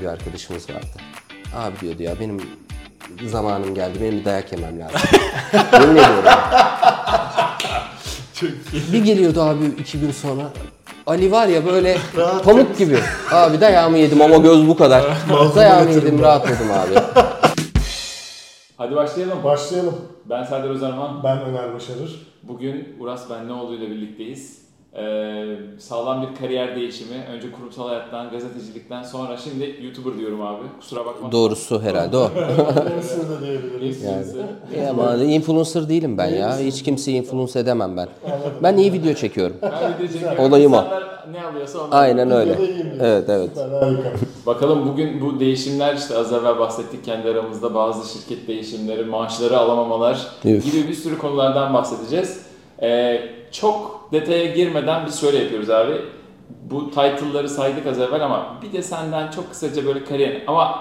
arkadaşımız vardı. Abi diyordu ya benim zamanım geldi. Benim bir dayak yemem lazım. Yemin ediyorum. Bir geliyordu abi iki gün sonra. Ali var ya böyle pamuk gibi. Abi dayağımı yedim ama göz bu kadar. dayağımı yedim rahatladım abi. Hadi başlayalım. Başlayalım. Ben Serdar Özerman. Ben Öner Başarır. Bugün Uras Benlioğlu ile birlikteyiz. Ee, sağlam bir kariyer değişimi. Önce kurumsal hayattan, gazetecilikten sonra şimdi YouTuber diyorum abi. Kusura bakma. Doğrusu herhalde o. Influencer da diyebiliriz. Influencer. Ya ama influencer değilim ben ya. Hiç kimseyi influence edemem ben. Ben iyi video çekiyorum. Ben bir de çekiyorum. Olayım o. İnsanlar Ne alıyorsa onu. Aynen öyle. Videoda iyiyim diyorsun. Evet evet. Süper, harika. Bakalım bugün bu değişimler işte az evvel bahsettik kendi aramızda bazı şirket değişimleri, maaşları alamamalar Üf. gibi bir sürü konulardan bahsedeceğiz. Ee, çok detaya girmeden biz şöyle yapıyoruz abi. Bu title'ları saydık az evvel ama bir de senden çok kısaca böyle kariyer ama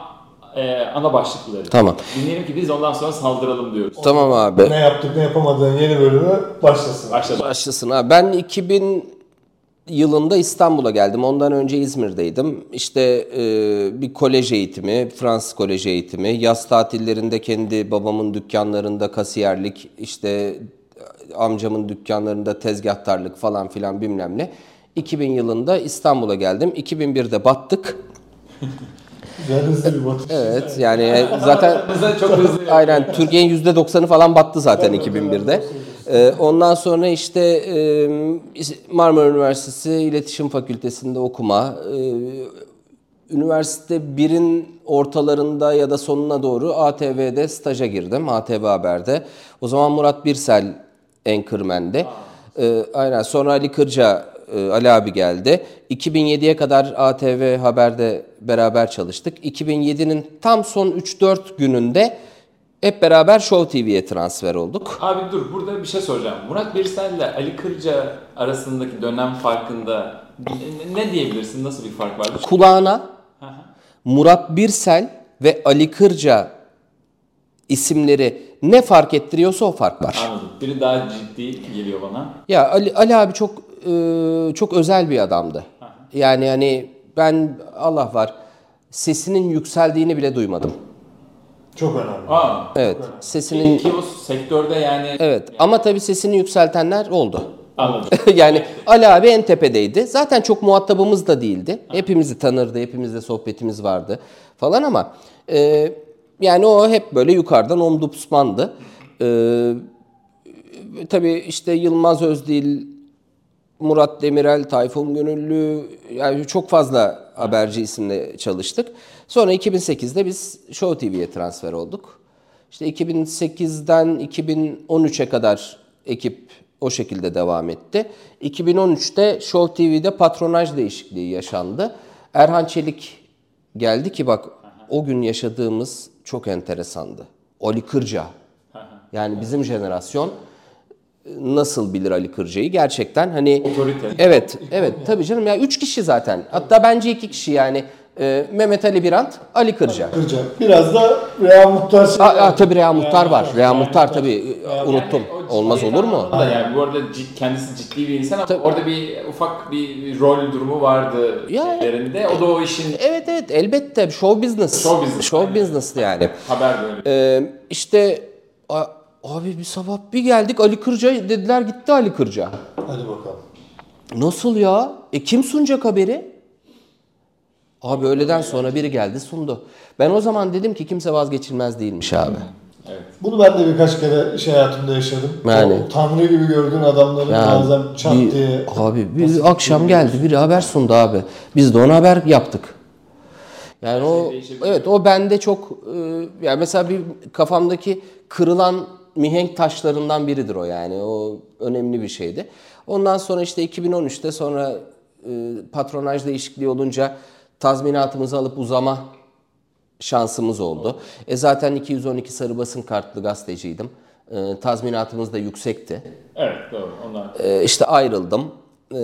e, ana başlıkları. Tamam. Dinleyelim ki biz ondan sonra saldıralım diyoruz. Tamam abi. ne yaptık ne yapamadığın yeni bölümü başlasın. Başladı. Başlasın ha. Ben 2000 yılında İstanbul'a geldim. Ondan önce İzmir'deydim. İşte e, bir kolej eğitimi, Fransız kolej eğitimi. Yaz tatillerinde kendi babamın dükkanlarında kasiyerlik, işte amcamın dükkanlarında tezgahtarlık falan filan bilmem ne. 2000 yılında İstanbul'a geldim. 2001'de battık. Güzel hızlı bir batış. Evet yani e, zaten Bize çok hızlı. Ee, Aynen Türkiye'nin %90'ı falan battı zaten 2001'de. Ee, ondan sonra işte e, Marmara Üniversitesi İletişim Fakültesi'nde okuma, e, üniversite birin ortalarında ya da sonuna doğru ATV'de staja girdim. ATV Haber'de. O zaman Murat Birsel Anchorman'de. Ee, aynen. Sonra Ali Kırca, e, Ali abi geldi. 2007'ye kadar ATV Haber'de beraber çalıştık. 2007'nin tam son 3-4 gününde hep beraber Show TV'ye transfer olduk. Abi dur burada bir şey soracağım. Murat Birsel ile Ali Kırca arasındaki dönem farkında ne- ne diyebilirsin? Nasıl bir fark var? kulağına Murat Birsel ve Ali Kırca isimleri ne fark ettiriyorsa o fark var. Anladım. Biri daha ciddi geliyor bana. Ya Ali, Ali abi çok e, çok özel bir adamdı. Yani hani ben Allah var sesinin yükseldiğini bile duymadım. Çok önemli. Aa. Evet. Sesinin Ki o sektörde yani Evet ama tabii sesini yükseltenler oldu. anladım. yani Ali abi en tepedeydi. Zaten çok muhatabımız da değildi. Hepimizi tanırdı, hepimizle sohbetimiz vardı falan ama e, yani o hep böyle yukarıdan omdupsmandı. E, tabii işte Yılmaz Özdil, Murat Demirel, Tayfun Gönüllü yani çok fazla haberci isimle çalıştık. Sonra 2008'de biz Show TV'ye transfer olduk. İşte 2008'den 2013'e kadar ekip o şekilde devam etti. 2013'te Show TV'de patronaj değişikliği yaşandı. Erhan Çelik geldi ki bak o gün yaşadığımız çok enteresandı. Ali Kırca. Yani bizim jenerasyon e, nasıl bilir Ali Kırca'yı gerçekten hani Otorite. Evet, evet tabii canım ya üç kişi zaten. Hatta bence iki kişi yani. Ee, Mehmet Ali Birant, Ali Kırca. Kırca. Biraz da Reha Muhtar şey Aa, var. aa, tabii Rea Muhtar var. Rea Reha Muhtar tabii e, unuttum. Yani o şey ciddi Olmaz olur mu? anlamda Yani bu arada cid, kendisi ciddi bir insan ama orada bir ufak bir rol durumu vardı Ya. şeylerinde. O da o işin Evet evet elbette show business. Show business. Show business yani. haber böyle. Ee, işte a- abi bir sabah bir geldik Ali Kırca dediler gitti Ali Kırca. Hadi bakalım. Nasıl ya? E kim sunacak haberi? Abi öğleden sonra biri geldi sundu. Ben o zaman dedim ki kimse vazgeçilmez değilmiş abi. Evet. Bunu ben de birkaç kere iş hayatımda yaşadım. Yani. O tanrı gibi gördüğün adamların Yani bazen çat bir- diye. Abi bir akşam geldi biri haber sundu abi. Biz de ona haber yaptık. Yani o değişebiliyor. evet o bende çok e, yani mesela bir kafamdaki kırılan mihenk taşlarından biridir o yani. O önemli bir şeydi. Ondan sonra işte 2013'te sonra e, patronaj değişikliği olunca tazminatımızı alıp uzama şansımız oldu. E zaten 212 sarı basın kartlı gazeteciydim. E, tazminatımız da yüksekti. Evet doğru. Ondan. Ee, işte ayrıldım. Ee,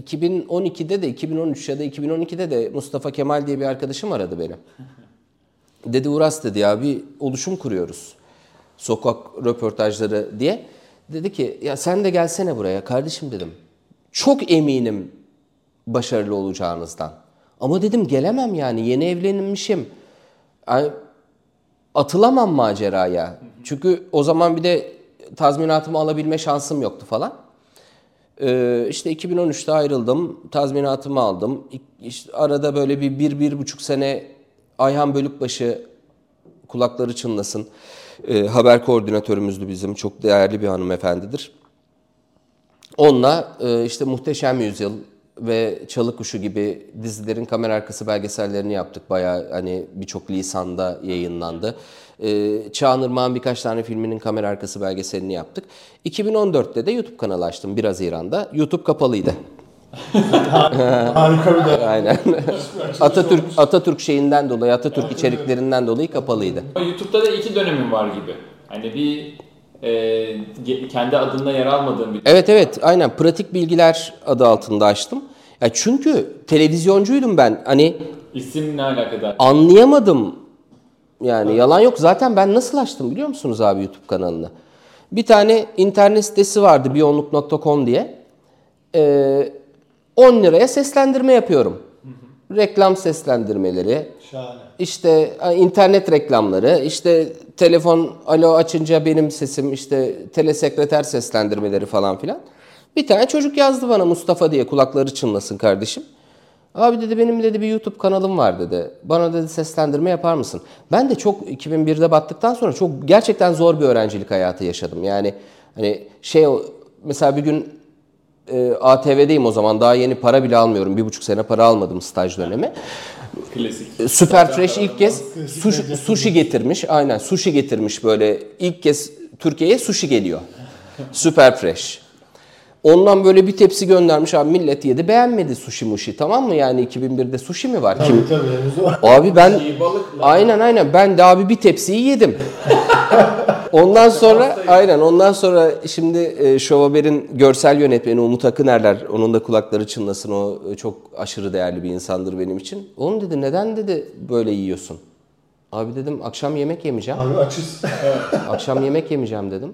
2012'de de 2013 ya da 2012'de de Mustafa Kemal diye bir arkadaşım aradı beni. Dedi Uras dedi ya bir oluşum kuruyoruz. Sokak röportajları diye. Dedi ki ya sen de gelsene buraya kardeşim dedim. Çok eminim başarılı olacağınızdan. Ama dedim gelemem yani yeni evlenmişim. Yani atılamam maceraya. Çünkü o zaman bir de tazminatımı alabilme şansım yoktu falan. Ee, işte 2013'te ayrıldım. Tazminatımı aldım. İk- işte arada böyle bir, bir, bir buçuk sene Ayhan Bölükbaşı kulakları çınlasın. Ee, haber koordinatörümüzdü bizim. Çok değerli bir hanımefendidir. Onunla e, işte Muhteşem Yüzyıl ve Çalı Kuşu gibi dizilerin kamera arkası belgesellerini yaptık. Bayağı hani birçok lisanda yayınlandı. E, Çağınırmağ'ın birkaç tane filminin kamera arkası belgeselini yaptık. 2014'te de YouTube kanalı açtım 1 Haziran'da. YouTube kapalıydı. Harika bir de. Aynen. Atatürk Atatürk şeyinden dolayı, Atatürk içeriklerinden dolayı kapalıydı. Ama YouTube'da da iki dönemin var gibi. Hani bir e, ge- kendi adında yer almadığın bir Evet evet aynen pratik bilgiler adı altında açtım. Ya çünkü televizyoncuydum ben. Hani isimle alakadar. anlayamadım. Yani yalan yok. Zaten ben nasıl açtım biliyor musunuz abi YouTube kanalını? Bir tane internet sitesi vardı biyonluk.com diye. Ee, 10 liraya seslendirme yapıyorum. Reklam seslendirmeleri, Şahane. işte e, internet reklamları, işte telefon alo açınca benim sesim, işte telesekreter seslendirmeleri falan filan. Bir tane çocuk yazdı bana Mustafa diye kulakları çınlasın kardeşim. Abi dedi benim dedi bir YouTube kanalım var dedi. Bana dedi seslendirme yapar mısın? Ben de çok 2001'de battıktan sonra çok gerçekten zor bir öğrencilik hayatı yaşadım. Yani hani şey o- mesela bir gün e, ATV'deyim o zaman daha yeni para bile almıyorum. Bir buçuk sene para almadım staj dönemi. Klasik. Süper Fresh ilk kez Klasik sushi, sushi getirmiş. Aynen sushi getirmiş böyle. ilk kez Türkiye'ye sushi geliyor. Süper Fresh. Ondan böyle bir tepsi göndermiş abi millet yedi beğenmedi sushi muşi tamam mı yani 2001'de sushi mi var? Kim? Tabii tabii henüz o. Abi ben İyi balıkla. aynen aynen ben de abi bir tepsiyi yedim. Ondan sonra aynen ondan sonra şimdi e, Show Haber'in görsel yönetmeni Umut Akınerler onun da kulakları çınlasın o e, çok aşırı değerli bir insandır benim için. Oğlum dedi neden dedi böyle yiyorsun? Abi dedim akşam yemek yemeyeceğim. Abi açız. Akşam yemek yemeyeceğim dedim.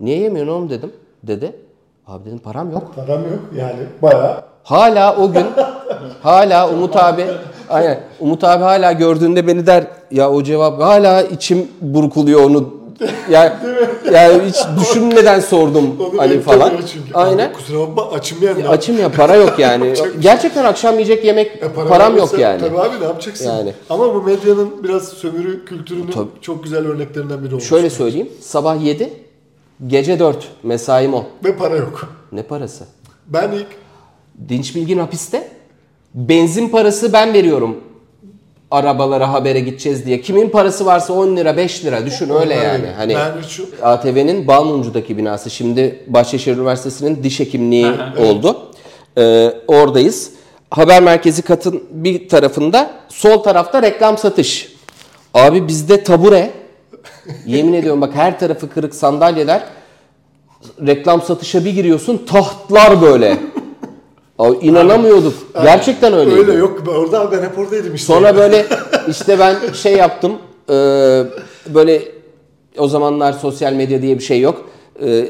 Niye yemiyorsun oğlum dedim. Dedi. Abi dedim param yok. Param yok yani bayağı. Hala o gün hala Umut abi aynen, Umut abi hala gördüğünde beni der ya o cevap hala içim burkuluyor onu yani, yani hiç düşünmeden sordum Ali falan. Aynen. Kusura bakma açım yani. Açım ya para yok yani. Gerçekten akşam yiyecek yemek param yok yani. E, Tabii abi ne yapacaksın? Yani. Ama bu medyanın biraz sömürü kültürünün Tabii. çok güzel örneklerinden biri olmuş. Şöyle söyleyeyim. Sabah 7, gece 4 mesaim o. Ve para yok. Ne parası? Ben ilk Dinç Bilgin hapiste. Benzin parası ben veriyorum. Arabalara habere gideceğiz diye. Kimin parası varsa 10 lira 5 lira düşün öyle yani. Hani Ben şu ATV'nin Balmumcu'daki binası şimdi Bahçeşehir Üniversitesi'nin diş hekimliği oldu. Ee, oradayız. Haber merkezi katın bir tarafında sol tarafta reklam satış. Abi bizde tabure. Yemin ediyorum bak her tarafı kırık sandalyeler. Reklam satışa bir giriyorsun tahtlar böyle. Abi inanamıyorduk. Gerçekten öyleydi. öyle yok. Ben Orada ben hep oradaydım işte. Sonra böyle işte ben şey yaptım. e, böyle o zamanlar sosyal medya diye bir şey yok. E,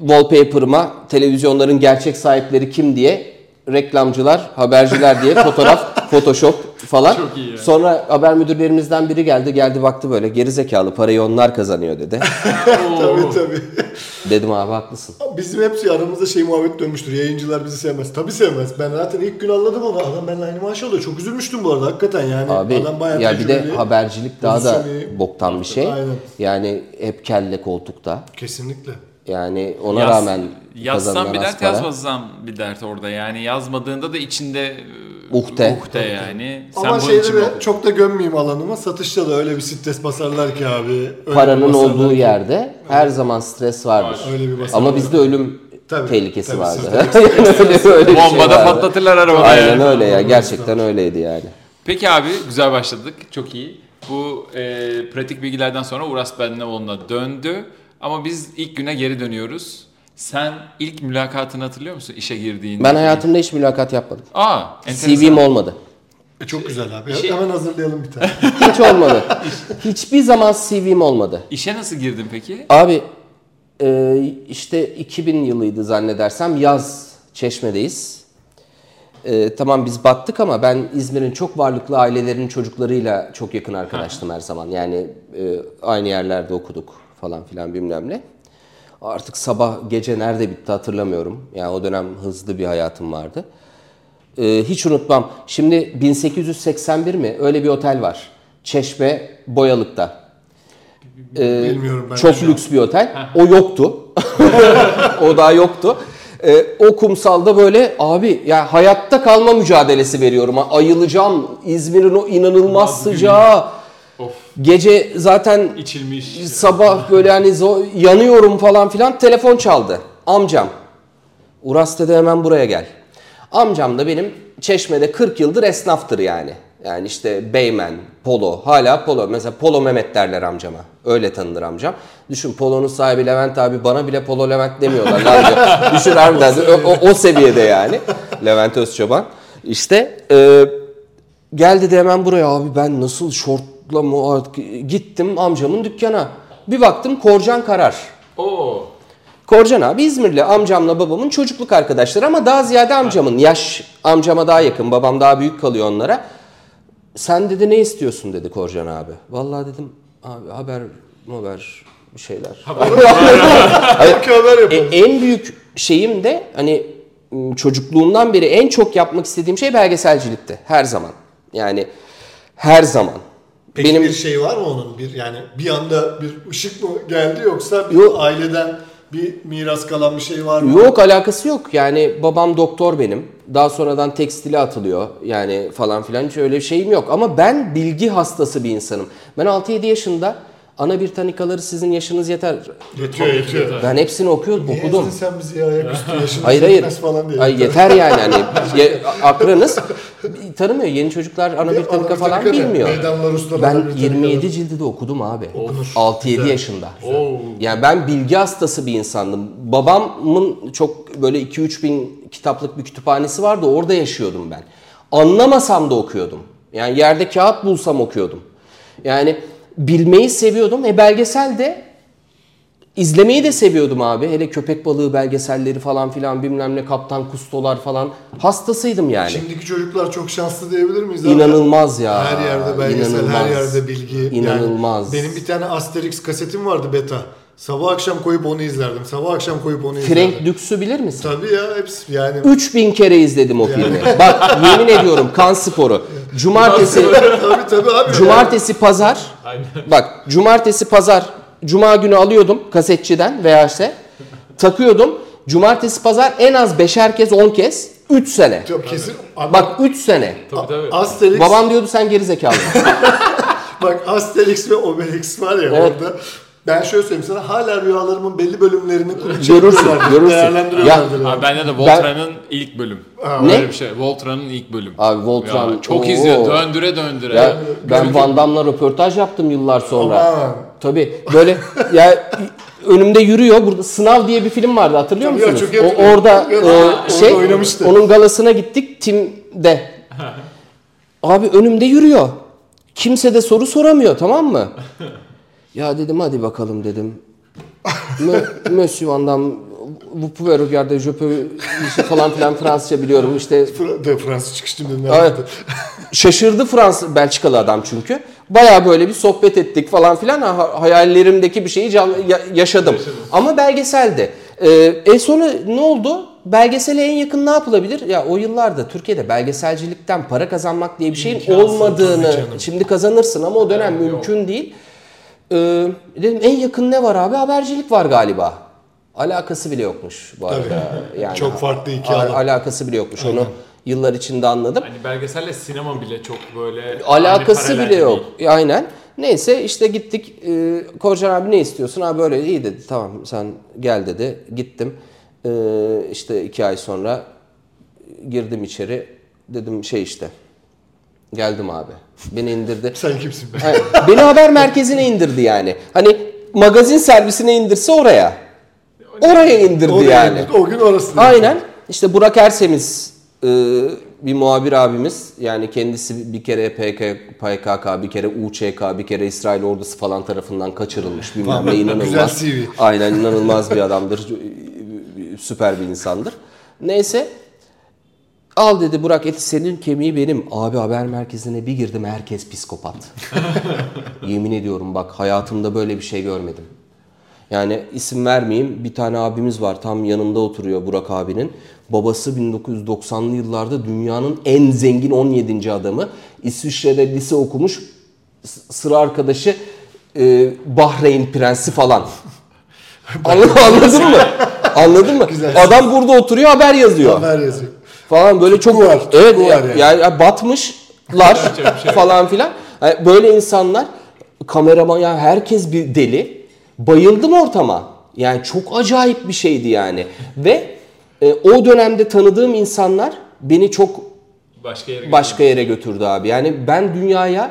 wallpaper'ıma televizyonların gerçek sahipleri kim diye reklamcılar, haberciler diye fotoğraf, photoshop falan. Sonra haber müdürlerimizden biri geldi. Geldi baktı böyle geri zekalı parayı onlar kazanıyor dedi. tabii tabii. Dedim abi haklısın. Bizim hepsi aramızda şey muhabbet dönmüştür. Yayıncılar bizi sevmez. Tabii sevmez. Ben zaten ilk gün anladım onu. Adam benimle aynı maaş alıyor. Çok üzülmüştüm bu arada hakikaten yani. Abi Adam bayağı ya bir de tecrübeli. habercilik daha da pozisyonu iyi. boktan bir şey. Aynen. Yani hep kelle koltukta. Kesinlikle. Yani ona Yaz- rağmen yazsam kazanılan bir az dert para. yazmasam bir dert orada yani yazmadığında da içinde e, Uhde. uhde yani sen Ama bunun şeyde için de mi- çok da gömmeyeyim alanıma. Satışta da öyle bir stres basarlar ki abi. Öyle bir Paranın basarlar olduğu ki. yerde her zaman stres vardır. Öyle bir basarlar. Ama bizde ölüm Tabii, tehlikesi tabii, vardı. sizde Yani öyle, öyle bir şey bombada vardı. patlatırlar arabayı. Aynen öyle ya. Gerçekten öyleydi yani. Peki abi güzel başladık. Çok iyi. Bu e, pratik bilgilerden sonra Uras Benlioğlu'na döndü. Ama biz ilk güne geri dönüyoruz. Sen ilk mülakatını hatırlıyor musun işe girdiğinde? Ben hayatımda hiç mülakat yapmadım. Aa, enteresan. CV'm olmadı. E, çok güzel abi. Şey- Hemen hazırlayalım bir tane. Hiç olmadı. Hiçbir zaman CV'm olmadı. İşe nasıl girdin peki? Abi e, işte 2000 yılıydı zannedersem yaz Çeşme'deyiz. E, e, tamam biz battık ama ben İzmir'in çok varlıklı ailelerinin çocuklarıyla çok yakın arkadaştım her zaman. Yani e, aynı yerlerde okuduk falan filan bilmem ne. Artık sabah gece nerede bitti hatırlamıyorum. Yani o dönem hızlı bir hayatım vardı. Ee, hiç unutmam. Şimdi 1881 mi? Öyle bir otel var. Çeşme Boyalık'ta. Bilmiyorum ben. Ee, Çok şu an. lüks bir otel. O yoktu. o daha yoktu. Ee, o kumsalda böyle abi ya hayatta kalma mücadelesi veriyorum. Ha, Ayılacağım. İzmir'in o inanılmaz Abi, sıcağı. Of. Gece zaten İçilmiş. sabah böyle hani zo- yanıyorum falan filan telefon çaldı. Amcam. Uras dedi hemen buraya gel. Amcam da benim çeşmede 40 yıldır esnaftır yani. Yani işte Beymen, Polo, hala Polo. Mesela Polo Mehmet derler amcama. Öyle tanınır amcam. Düşün Polo'nun sahibi Levent abi bana bile Polo Levent demiyorlar. Lan diyor. Düşün harbiden o, o, o seviyede yani. Levent Özçoban. İşte e, Geldi de hemen buraya abi ben nasıl şortla mı artık- gittim amcamın dükkana. Bir baktım Korcan Karar. Oo. Korcan abi İzmirli amcamla babamın çocukluk arkadaşları ama daha ziyade amcamın. Yaş amcama daha yakın babam daha büyük kalıyor onlara. Sen dedi ne istiyorsun dedi Korcan abi. Vallahi dedim abi haber haber bir şeyler. Belki haber yapalım. E, en büyük şeyim de hani m, çocukluğumdan beri en çok yapmak istediğim şey belgeselcilikti her zaman. Yani her zaman. Peki benim bir şey var mı onun? Bir yani bir anda bir ışık mı geldi yoksa bir Yok. aileden bir miras kalan bir şey var mı? Yok alakası yok. Yani babam doktor benim. Daha sonradan tekstile atılıyor. Yani falan filan hiç öyle bir şeyim yok. Ama ben bilgi hastası bir insanım. Ben 6-7 yaşında ana bir tanikaları sizin yaşınız yeter. Yetiyor yetiyor. Ben hepsini okuyordum, Niye okudum. ezdin sen bizi ya ayaküstü yaşımız Hayır hayır. yetmez falan diye. Ay, yeter yani hani ye- aklınız tanımıyor. Yeni çocuklar ana bir tanika falan Amerika'da bilmiyor. Meydanlar ustalar Ben Amerika'da. 27 cildi de okudum abi. 6-7 yaşında. Oo. Yani ben bilgi hastası bir insandım. Babamın çok böyle 2-3 bin kitaplık bir kütüphanesi vardı. Orada yaşıyordum ben. Anlamasam da okuyordum. Yani yerde kağıt bulsam okuyordum. Yani bilmeyi seviyordum. E belgesel de İzlemeyi de seviyordum abi. Hele köpek balığı belgeselleri falan filan bilmem ne kaptan kustolar falan. Hastasıydım yani. Şimdiki çocuklar çok şanslı diyebilir miyiz? abi? İnanılmaz ya. Her yerde belgesel, her İnanılmaz. yerde bilgi. Yani İnanılmaz. benim bir tane Asterix kasetim vardı beta. Sabah akşam koyup onu izlerdim. Sabah akşam koyup onu izlerdim. Frank Dux bilir misin? Tabii ya hepsi yani 3000 kere izledim o filmi. Bak yemin ediyorum kan sporu. Cumartesi tabii tabii abi. cumartesi pazar. Bak cumartesi pazar cuma günü alıyordum kasetçiden VHS'e takıyordum. Cumartesi pazar en az beşer kez 10 kez 3 sene. Çok kesin. Abi, Bak 3 sene. Tabii tabii. Asterix, Babam diyordu sen geri zekalı. bak Asterix ve Obelix var ya Evet. orada. Ben şöyle söyleyeyim sana hala rüyalarımın belli bölümlerini kuru Görürsün, çekiyorlardır, görürsün. Değerlendiriyorlardır. Abi bende de Voltran'ın ilk bölüm. Ne? Böyle bir şey. Voltran'ın ilk bölüm. Abi Voltran, Ya, çok oo. izliyor. Döndüre döndüre. Ya ben Van Damme'la röportaj yaptım yıllar sonra. Aman. Tabii böyle ya önümde yürüyor. Burada Sınav diye bir film vardı hatırlıyor Tabii ya, musunuz? çok iyi o, orada hatırlıyorum. e, Orada şey oynamıştı. onun galasına gittik Tim'de. Abi önümde yürüyor. Kimse de soru soramıyor tamam mı? ya dedim hadi bakalım dedim. Mö- Monsieur Van Damme vous pouvez regarder je peux falan filan Fransızca biliyorum işte Fra- De Fransız çıkıştım dedim. Evet. Şaşırdı Fransız Belçikalı adam çünkü. Baya böyle bir sohbet ettik falan filan. Ha- hayallerimdeki bir şeyi can- ya- yaşadım. Ama belgeseldi. Ee, e sonra ne oldu? Belgesele en yakın ne yapılabilir? Ya o yıllarda Türkiye'de belgeselcilikten para kazanmak diye bir şeyin olmadığını şimdi kazanırsın ama o dönem mümkün değil. Ee, dedim en yakın ne var abi? Habercilik var galiba. Alakası bile yokmuş bu arada. Yani Çok farklı iki al- alan. alakası bile yokmuş. Onu yıllar içinde anladım. Hani belgeselle sinema bile çok böyle Alakası bile yok. Aynen. Neyse işte gittik. E, Korcan abi ne istiyorsun? Abi böyle iyi dedi. Tamam sen gel dedi. Gittim. E, işte iki ay sonra girdim içeri. Dedim şey işte. Geldim abi. Beni indirdi. Sen kimsin be? Hayır, Beni haber merkezine indirdi yani. Hani magazin servisine indirse oraya. Oraya indirdi O gün- yani. O gün orası. Aynen. İşte Burak Ersemiz e, bir muhabir abimiz. Yani kendisi bir kere PK, PKK, bir kere UÇK, bir kere İsrail ordusu falan tarafından kaçırılmış. Bilmem ne Güzel inanılmaz. CV. Aynen inanılmaz bir adamdır. Süper bir insandır. Neyse. Al dedi Burak eti senin kemiği benim. Abi haber merkezine bir girdim herkes psikopat. Yemin ediyorum bak hayatımda böyle bir şey görmedim. Yani isim vermeyeyim bir tane abimiz var tam yanımda oturuyor Burak abinin. Babası 1990'lı yıllarda dünyanın en zengin 17. adamı. İsviçre'de lise okumuş s- sıra arkadaşı e, Bahreyn prensi falan. Anladın, anladın mı? Anladın mı? Güzel. Adam burada oturuyor haber yazıyor Haber yazıyor. falan böyle çok var, evet tutku var yani. yani batmışlar şey falan filan. Yani böyle insanlar kameraman ya herkes bir deli. Bayıldım ortama. Yani çok acayip bir şeydi yani. Ve e, o dönemde tanıdığım insanlar beni çok Başka yere başka yere götürdü abi. Yani ben dünyaya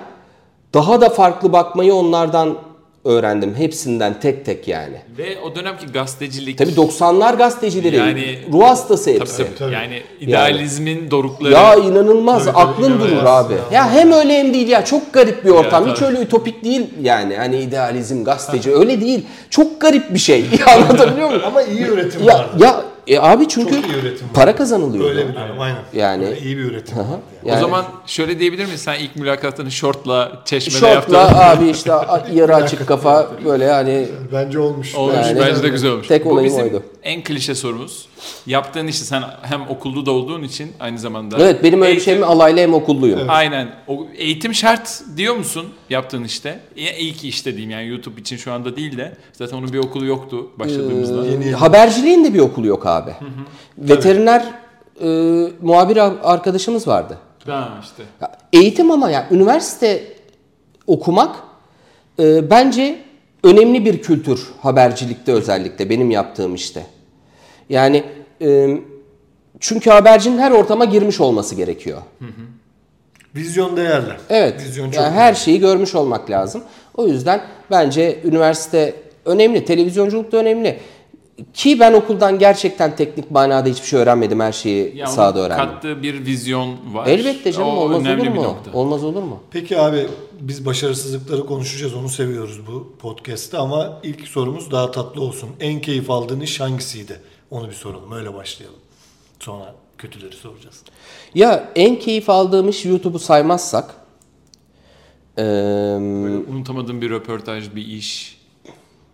daha da farklı bakmayı onlardan öğrendim. Hepsinden tek tek yani. Ve o dönemki gazetecilik. Tabii 90'lar gazetecileri Yani- ruh hastası hepsi. Tabii, tabii. Yani idealizmin dorukları. Ya inanılmaz aklın tabii, durur evet. abi. Ya. hem öyle hem değil ya çok garip bir ortam. Ya, Hiç tabii. öyle ütopik değil yani. Hani idealizm, gazeteci öyle değil. Çok garip bir şey. Anlatabiliyor muyum? Ama iyi üretim ya vardı. ya e, abi çünkü Çok iyi üretim var. para kazanılıyor. Öyle biliyorum aynen. Yani- Böyle iyi bir üretim vardı. Yani. Yani O zaman şöyle diyebilir miyiz? Sen ilk mülakatını şortla, çeşmede yaptın. şortla abi işte a- yarı açık kafa böyle hani Bence olmuş. Olmuş Yani- bence de güzel olmuş. Tek Bu olayım bizim oydu. en klişe sorumuz. Yaptığın işi sen hem okullu da olduğun için aynı zamanda. evet benim öyle şey- bir Eğitim- şeyim alaylı hem okulluyum. Aynen. O, eğitim şart diyor musun yaptığın işte? Ya iyi ki işte diyeyim yani YouTube için şu anda değil de. Zaten onun bir okulu yoktu başladığımızda. Ee, Yeni yeni. E, Haberciliğin de bir okulu yok abi. Veteriner e, muhabir a- arkadaşımız vardı. Tamam işte. Ya Eğitim ama ya üniversite okumak e, bence önemli bir kültür habercilikte özellikle benim yaptığım işte. Yani e, çünkü habercinin her ortama girmiş olması gerekiyor. Vizyon değerli. Evet. Vizyon yani çok her şeyi görmüş olmak lazım. O yüzden bence üniversite önemli, televizyonculuk da önemli. Ki ben okuldan gerçekten teknik manada hiçbir şey öğrenmedim. Her şeyi Ya sahada onun öğrendim. Kattığı bir vizyon var. Elbette canım O olmaz önemli olur bir mu? nokta. Olmaz olur mu? Peki abi biz başarısızlıkları konuşacağız onu seviyoruz bu podcast'te ama ilk sorumuz daha tatlı olsun. En keyif aldığın iş hangisiydi? Onu bir soralım öyle başlayalım. Sonra kötüleri soracağız. Ya en keyif aldığım iş YouTube'u saymazsak eee, Unutamadığım bir röportaj, bir iş.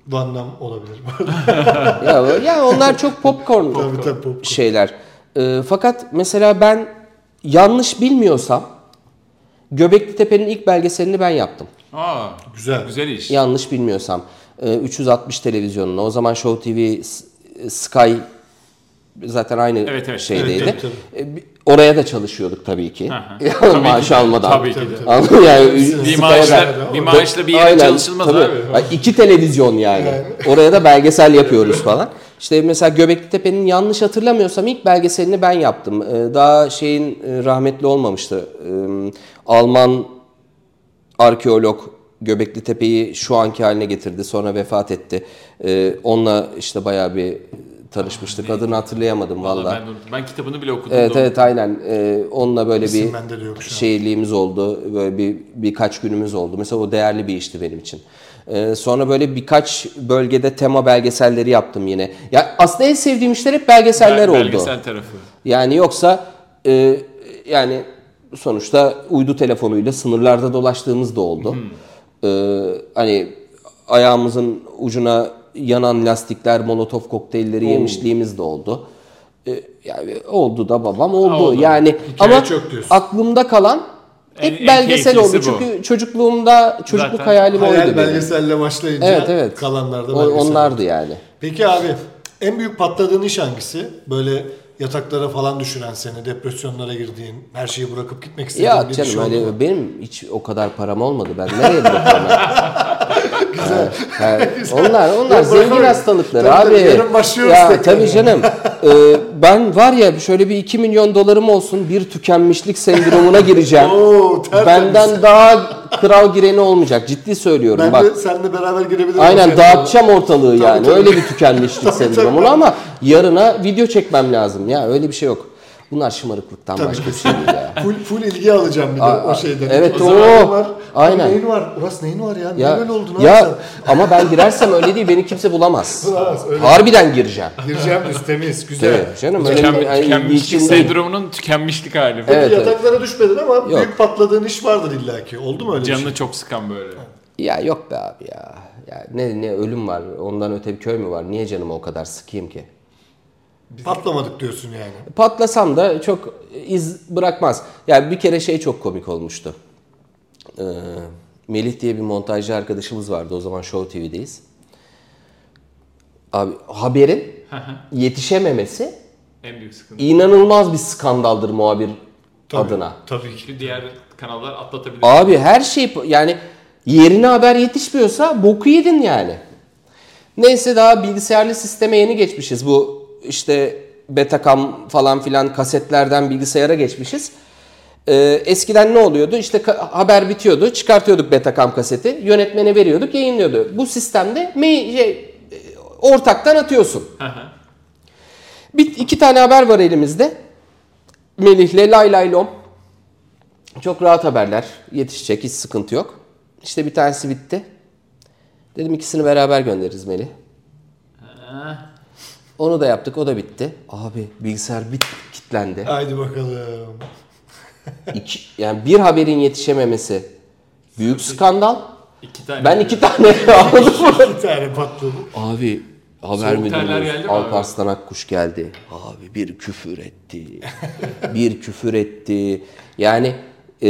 Van Damme olabilir bu arada. ya, ya onlar çok popcorn, Tabii, tabii, popcorn. şeyler. Eee, fakat mesela ben yanlış bilmiyorsam Göbekli Tepe'nin ilk belgeselini ben yaptım. Aa, Güzel. güzel iş. Yanlış bilmiyorsam eee, 360 televizyonuna o zaman Show TV S- Sky zaten aynı Evet, evet. şeydeydi. Evet, tabii, E, bi- Oraya da çalışıyorduk tabii ki. Aha. Ya, Tabii ki maaş de, almadan. tabii ki de. Anladın mı? Yani, Bir Sky'da- maaşla, bir, maaşla bir yere Aynen, çalışılmaz tabii. abi. Ha, İki televizyon yani. Oraya da belgesel yapıyoruz falan. İşte mesela Göbekli Tepe'nin yanlış hatırlamıyorsam ilk belgeselini ben yaptım. Ee, Daha şeyin e, rahmetli olmamıştı. Ee, Alman arkeolog Göbekli Tepe'yi şu anki haline getirdi. Sonra vefat etti. Ee, Onunla işte bayağı bir tanışmıştık. Adını hatırlayamadım Vallahi valla. Ben, de unuttum. ben kitabını bile okudum. Evet da evet aynen. Ee, onunla böyle İsim bir bende de yok şu an. şeyliğimiz oldu. Böyle bir birkaç günümüz oldu. Mesela o değerli bir işti benim için. Ee, sonra böyle birkaç bölgede tema belgeselleri yaptım yine. Ya aslında en sevdiğim işler hep belgeseller Bel- oldu. Belgesel tarafı. Yani yoksa e, yani sonuçta uydu telefonuyla sınırlarda dolaştığımız da oldu. Hmm. Ee, hani ayağımızın ucuna yanan lastikler, molotof kokteylleri yemişliğimiz de oldu. Ee, yani oldu da babam oldu. oldu. Yani Hikaye ama çok diyorsun. aklımda kalan hep En- en belgesel oldu. keyiflisi bu. Çünkü çocukluğumda çocukluk Zaten hayalim oydu Hayal benim. belgeselle başlayınca Evet evet. kalanlar da O- belgesel. Onlardı yani. Peki abi en büyük patladığın iş hangisi? Böyle yataklara falan düşüren seni, depresyonlara girdiğin, her şeyi bırakıp gitmek istediğin Ya bir şey iş canım oldu öyle mu? benim hiç o kadar param olmadı. Ben nereye bırakıyorum? Güzel. onlar onlar Ya bırakamıyorum. zengin hastalıkları abi. Tabii tabii, yarın başlıyoruz ya, tekrar. Tabii canım. Ee, ben var ya şöyle bir 2 milyon dolarım olsun bir tükenmişlik sendromuna gireceğim. Oo, tertemiz. Benden daha kral gireni olmayacak. Ciddi söylüyorum Ben bak. de seninle beraber girebilirim. Aynen Okey. dağıtacağım ortalığı yani. tabii. Öyle bir tükenmişlik Tabii, tabii. sendromunu ama yarına video çekmem lazım. Ya öyle bir şey yok. Bunlar şımarıklıktan başka bir şey değil ya. Full, full ilgi alacağım bir de Aa, o şeyden. evet, o. zaman o. Var. Aynen. Neyin var? Uras neyin var ya? Niye Ya, böyle oldun abi ya sen? ama ben girersem öyle değil beni kimse bulamaz. Bulamaz, öyle. Harbiden gireceğim. Gireceğim biz temiz, güzel. Evet canım öyle Tüken, bir hani tükenmişlik niçin değil. sendromunun tükenmişlik hali. bu. Evet, evet. Yataklara düşmedin ama büyük patladığın iş vardır illaki. Oldu mu öyle bir Canını şey? çok sıkan böyle. Ya yok be abi ya. ya ne ne ölüm var ondan öte bir köy mü var? Niye canımı o kadar sıkayım ki? Patlamadık diyorsun yani. Patlasam da çok iz bırakmaz. Yani bir kere şey çok komik olmuştu. Ee, Melih diye bir montajcı arkadaşımız vardı o zaman Show TV'deyiz. Abi haberin yetişememesi En büyük sıkıntı. inanılmaz bir skandaldır muhabir adına. Tabii ki. Çünkü diğer kanallar atlatabilir. Abi her şey yani yerine haber yetişmiyorsa boku yedin yani. Neyse daha bilgisayarlı sisteme yeni geçmişiz. Bu işte Betacam falan filan kasetlerden bilgisayara geçmişiz. Ee, eskiden ne oluyordu? İşte ka- haber bitiyordu. Çıkartıyorduk Betacam kaseti. Yönetmene veriyorduk, yayınlıyordu. Bu sistemde mail, şey, e, ortaktan atıyorsun. Bir, iki tane haber var elimizde. Melih'le Lay Lay Lom. Çok rahat haberler. Yetişecek hiç sıkıntı yok. İşte bir tanesi bitti. Dedim ikisini beraber göndeririz Melih. Onu da yaptık o da bitti. Abi bilgisayar bit kitlendi. Haydi bakalım. İki, yani bir haberin yetişememesi büyük skandal. İki tane. Ben iki tane aldım. Bir tane patladı. Abi haber Soğuk terler müdürümüz geldi mi abi? Alparslan Akkuş geldi. Abi bir küfür etti. bir küfür etti. Yani e,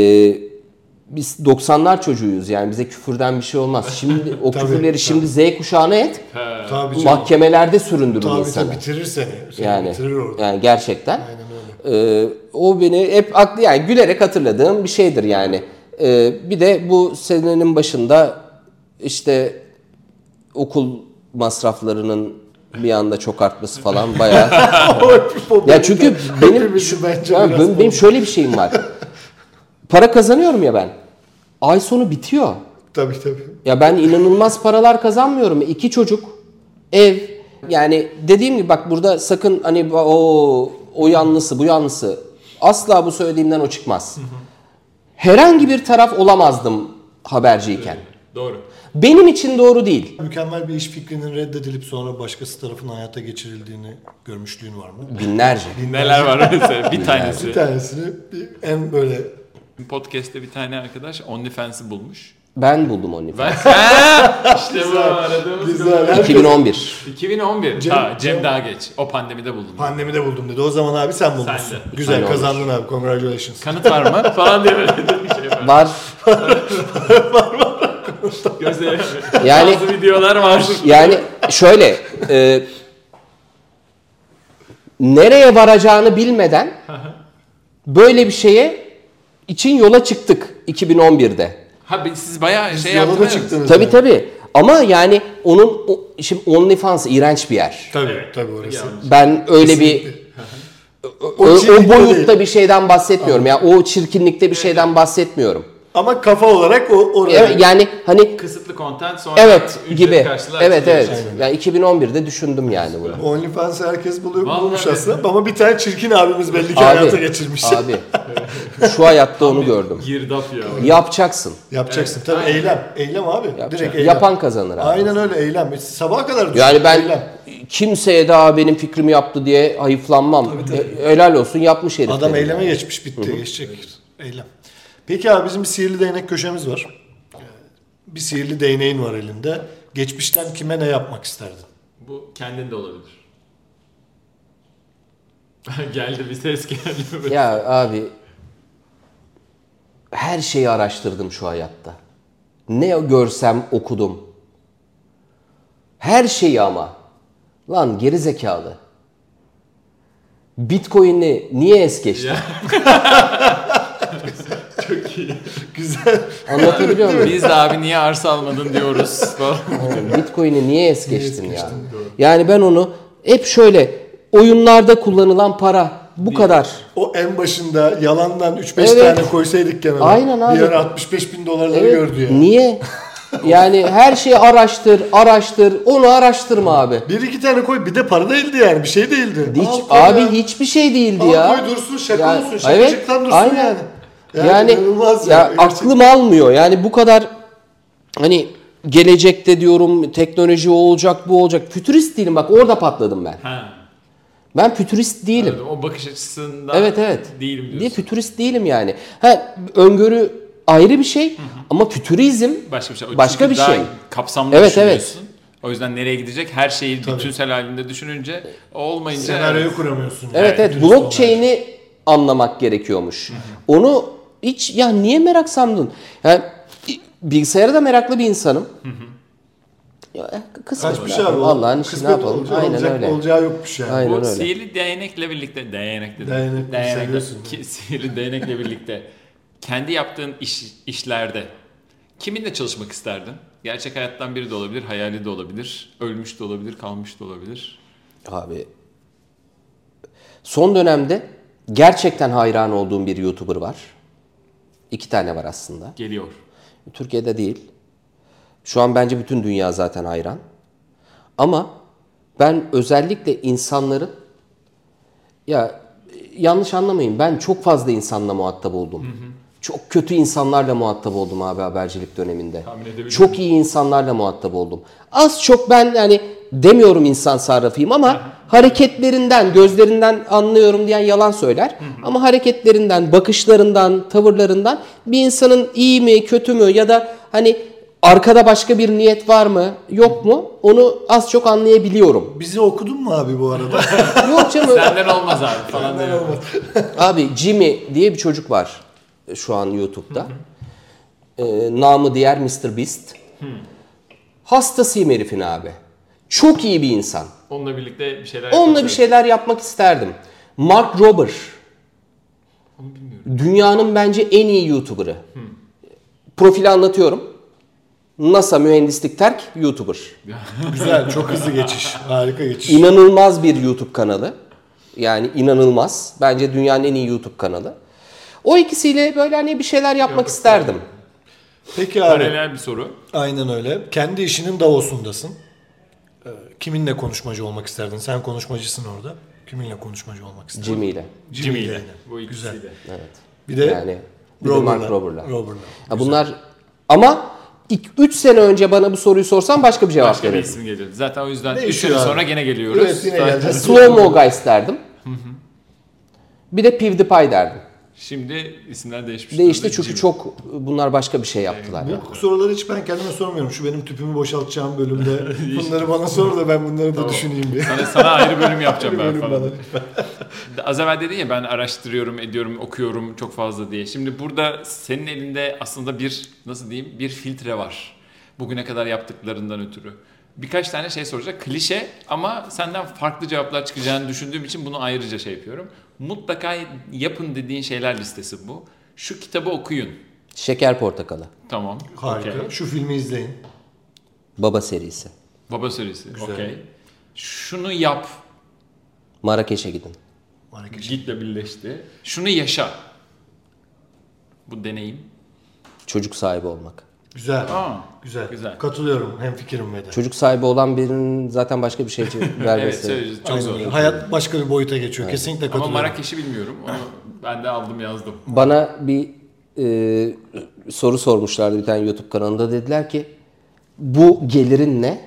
biz 90'lar çocuğuyuz yani bize küfürden bir şey olmaz. Şimdi o Tabii, küfürleri tabii. şimdi Z kuşağına et. Tabii canım. Mahkemelerde süründürün Tabii insanı. tabii bitirir seni. Seni Yani, bitirir orada. yani gerçekten. Ee, o beni hep aklı yani gülerek hatırladığım bir şeydir yani. Ee, bir de bu senenin başında işte okul masraflarının bir anda çok artması falan bayağı. ya çünkü benim Hepimizi bence Ya biraz benim, benim şöyle bir şeyim var. Para kazanıyorum ya ben. Ay sonu bitiyor. Tabii tabii. Ya ben inanılmaz paralar kazanmıyorum. İki çocuk, ev. Yani dediğim gibi bak burada sakın hani o o yanlısı bu yanlısı asla bu söylediğimden o çıkmaz. Herhangi bir taraf olamazdım haberciyken. Doğru. Benim için doğru değil. Mükemmel bir iş fikrinin reddedilip sonra başkası tarafından hayata geçirildiğini görmüşlüğün var mı? Binlerce. Neler var mesela bir Bir tanesi. tanesini bir- en böyle Podcast'te bir tane arkadaş OnlyFans'ı bulmuş. Ben buldum onu. Ben Ha! işte bu aradığımız güzel. kadar. Herkes 2011. 2011. Cem- ha, Cem Cem- daha geç. O pandemide buldum. pandemide buldum dedi. O zaman abi sen bulmuşsun. Sen de. Güzel Ben kazandın abi. Congratulations. Kanıt var mı? falan diye böyle bir şey var. Var. Gözleri. Yani Bazı videolar var. yani şöyle e, nereye varacağını bilmeden böyle bir şeye için yola çıktık 2011'de. Ha bir- siz bayağı şey Yola da yaptınız. çıktınız. Tabi yani. tabi. Ama yani onun o- şimdi OnlyFans iğrenç bir yer. Tabii Evet. tabii orası. Yani. Ben öyle bir o, o çirkin boyutta değil. bir şeyden bahsetmiyorum. Ya o çirkinlikte bir şeyden bahsetmiyorum. Ama kafa olarak o oraya. Evet, yani hani Kısıtlı content sonra evet ücret gibi. karşılığı Evet açılıyor. evet. Yani 2011'de düşündüm yani bunu. OnlyFans'ı herkes buluyor Vallahi bulmuş evet. aslında ama bir tane çirkin abimiz belli ki hayata geçirmiş. Abi. Şu hayatta onu gördüm. Girdap şey ya. Yapacaksın. Yapacaksın tabii eylem. Eylem abi. Direkt eylem. Yapan kazanır abi. Aynen öyle eylem. E, Sabaha kadar düşün. Yani ben Eylem. kimseye daha benim fikrimi yaptı diye hayıflanmam. E, helal olsun yapmış herif. Adam derim. eyleme geçmiş bitti geçecek. Eylem. Peki abi bizim bir sihirli değnek köşemiz var. Ee, Bir sihirli değneğin var elinde. Geçmişten kime ne yapmak isterdin? Bu kendin de olabilir. geldi bir ses geldi. böyle. Ya abi her şeyi araştırdım şu hayatta. Ne görsem okudum. Her şeyi ama. Lan geri zekalı. Bitcoin'i niye es geçtin? Çok iyi. Güzel. Anlatabiliyor muyum? Biz de abi niye arsa almadın diyoruz. falan. Oğlum, Bitcoin'i niye es geçtin ya? Yani ben onu hep şöyle oyunlarda kullanılan para bu kadar. O en başında yalandan 3-5 Evet. tane koysaydık kenara. Aynen abi. Bir ara 65 bin dolarları Evet, gördü ya. Niye? Yani her şeyi araştır, araştır. Onu araştırma abi. Bir iki tane koy bir de para değildi yani bir şey değildi. Hiç, Al koy abi ya. hiçbir şey değildi Al ya. koy dursun şaka Ya, olsun evet, şakacıktan dursun aynen. yani. Yani, inanılmaz ya, gerçekten. aklım almıyor. Yani bu kadar hani gelecekte diyorum teknoloji o olacak bu olacak. Fütürist değilim bak orada patladım ben. Ha. Ben fütürist değilim. O bakış açısından Evet evet. değilim diyorsun. Diye fütürist değilim yani. Ha öngörü ayrı bir şey ama fütürizm Başka bir şey. Başka Çünkü bir daha şey. Kapsamlı Evet, düşünüyorsun. O yüzden nereye gidecek her şeyi bütünsel halinde düşününce o olmayınca Senaryoyu kuramıyorsun. Evet evet Dürüst olmak. blockchain'i anlamak gerekiyormuş. Onu hiç ya niye merak sandın? Yani, bilgisayara da meraklı bir insanım. Ya, e, kısmet Kaçmış abi. şey abi. o. Allah'ın işi hani ne Kısmet yapalım? olacağı, Aynen olacak, öyle. Olacağı yokmuş yani. Aynen. Bu öyle. sihirli değnekle birlikte değnek dedim. Değnek, seviyorsun ki, sihirli değnekle birlikte kendi yaptığın iş, işlerde kiminle çalışmak isterdin? Gerçek hayattan biri de olabilir, hayali de olabilir, ölmüş de olabilir, kalmış da olabilir. Abi son dönemde gerçekten hayran olduğum bir YouTuber var. İki tane var aslında. Geliyor. Türkiye'de değil. Şu an bence bütün dünya zaten hayran. Ama ben özellikle insanların ya e, yanlış anlamayın ben çok fazla insanla muhatap oldum. Çok kötü insanlarla muhatap oldum abi habercilik döneminde. Tahmin edebiliyorum. Çok iyi insanlarla muhatap oldum. Az çok ben yani demiyorum insan sarrafıyım ama hareketlerinden, gözlerinden anlıyorum diyen yalan söyler. Ama hareketlerinden, bakışlarından, tavırlarından bir insanın iyi mi, kötü mü ya da hani arkada başka bir niyet var mı, yok mu onu az çok anlayabiliyorum. Bizi okudun mu abi bu arada? Yok canım Senden olmaz abi falan diyor. Abi Jimmy diye bir çocuk var e, şu an YouTube'da. Ee, namı diğer Mr. Beast. Hastasıyım herifin abi. Çok iyi bir insan. Onunla birlikte bir şeyler Onunla bir şey yapabiliriz. şeyler yapmak isterdim. Mark Rober. Dünyanın bence en iyi YouTuber'ı. Profili anlatıyorum. NASA mühendislik terk YouTuber. Güzel çok hızlı geçiş. Harika geçiş. İnanılmaz bir YouTube kanalı. Yani inanılmaz. Bence dünyanın en iyi YouTube kanalı. O ikisiyle böyle hani bir şeyler yapmak isterdim. Peki abi. Paralel bir soru. Aynen öyle. Kendi işinin Davos'undasın. Ee, Kiminle konuşmacı olmak isterdin? Sen konuşmacısın orada. Kiminle konuşmacı olmak isterdin? Jimmy ile. Jimmy ile. aynen. Bu ikisiyle. Güzel. Evet. Bir de Yani bir de Mark Rober'la. Robert'la. Ya bunlar ama 3 sene önce bana bu soruyu sorsan başka bir cevap Başka bir verirdim. isim gelir. Zaten o yüzden Değişiyor 3 sene abi. sonra gene geliyoruz. Evet, yine Zaten geleceğiz. Slow Mo Guys derdim. Bir de PewDiePie derdim. Şimdi isimler değişmiş. Değişti durumda. çünkü Jimmy. çok bunlar başka bir şey yaptılar. ya. Bu soruları hiç ben kendime sormuyorum. Şu benim tüpümü boşaltacağım bölümde. bunları bana sor da ben bunları da düşüneyim diye. Sana, sana ayrı bölüm yapacağım ben Bölüm falan. bana. Az evvel dedin ya ben araştırıyorum, ediyorum, okuyorum çok fazla diye. Şimdi burada senin elinde aslında bir nasıl diyeyim bir filtre var. Bugüne kadar yaptıklarından ötürü. Birkaç tane şey soracak. Klişe ama senden farklı cevaplar çıkacağını düşündüğüm için bunu ayrıca şey yapıyorum. Mutlaka yapın dediğin şeyler listesi bu. Şu kitabı okuyun. Şeker Portakalı. Tamam. Harika. okey. Şu filmi izleyin. Baba serisi. Baba serisi. Okey. Şunu yap. Marrakeş'e gidin. Marrakeş. Gitle birleşti. Şunu yaşa. Bu deneyim. Çocuk sahibi olmak. Güzel. Aa. Güzel. Güzel. Katılıyorum. Hem fikrim ve de. Çocuk sahibi olan birinin zaten başka bir şey Evet, vermesi. söyleyeceğiz. Çok Aynen zor. öyle. Hayat başka bir boyuta geçiyor. Kesinlikle Ama katılıyorum. Marrakeş'i bilmiyorum. Onu ben de aldım yazdım. Bana bir e, soru sormuşlardı bir tane YouTube kanalında. Dediler ki bu gelirin ne?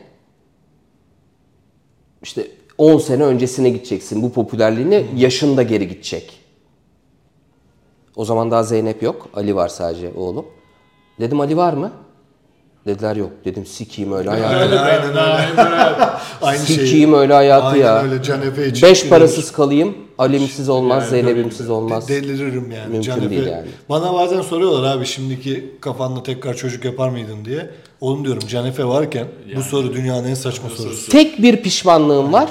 İşte 10 sene öncesine gideceksin. Bu popülerliğine yaşında geri gidecek. O zaman daha Zeynep yok. Ali var sadece oğlum. Dedim Ali var mı? Dediler yok. Dedim sikiyim öyle hayatı. Aynen, aynen öyle. Aynı şey. Sikiyim öyle hayatı Aynen ya. öyle. Can Efe için. Beş parasız kalayım. Alimsiz olmaz, Zeynep'imsiz olmaz. Deliririm yani. Mümkün Can Efe- değil yani. Bana bazen soruyorlar abi şimdiki kafanla tekrar çocuk yapar mıydın diye. Oğlum diyorum Canefe varken bu soru dünyanın en saçma sorusu. Tek bir pişmanlığım var.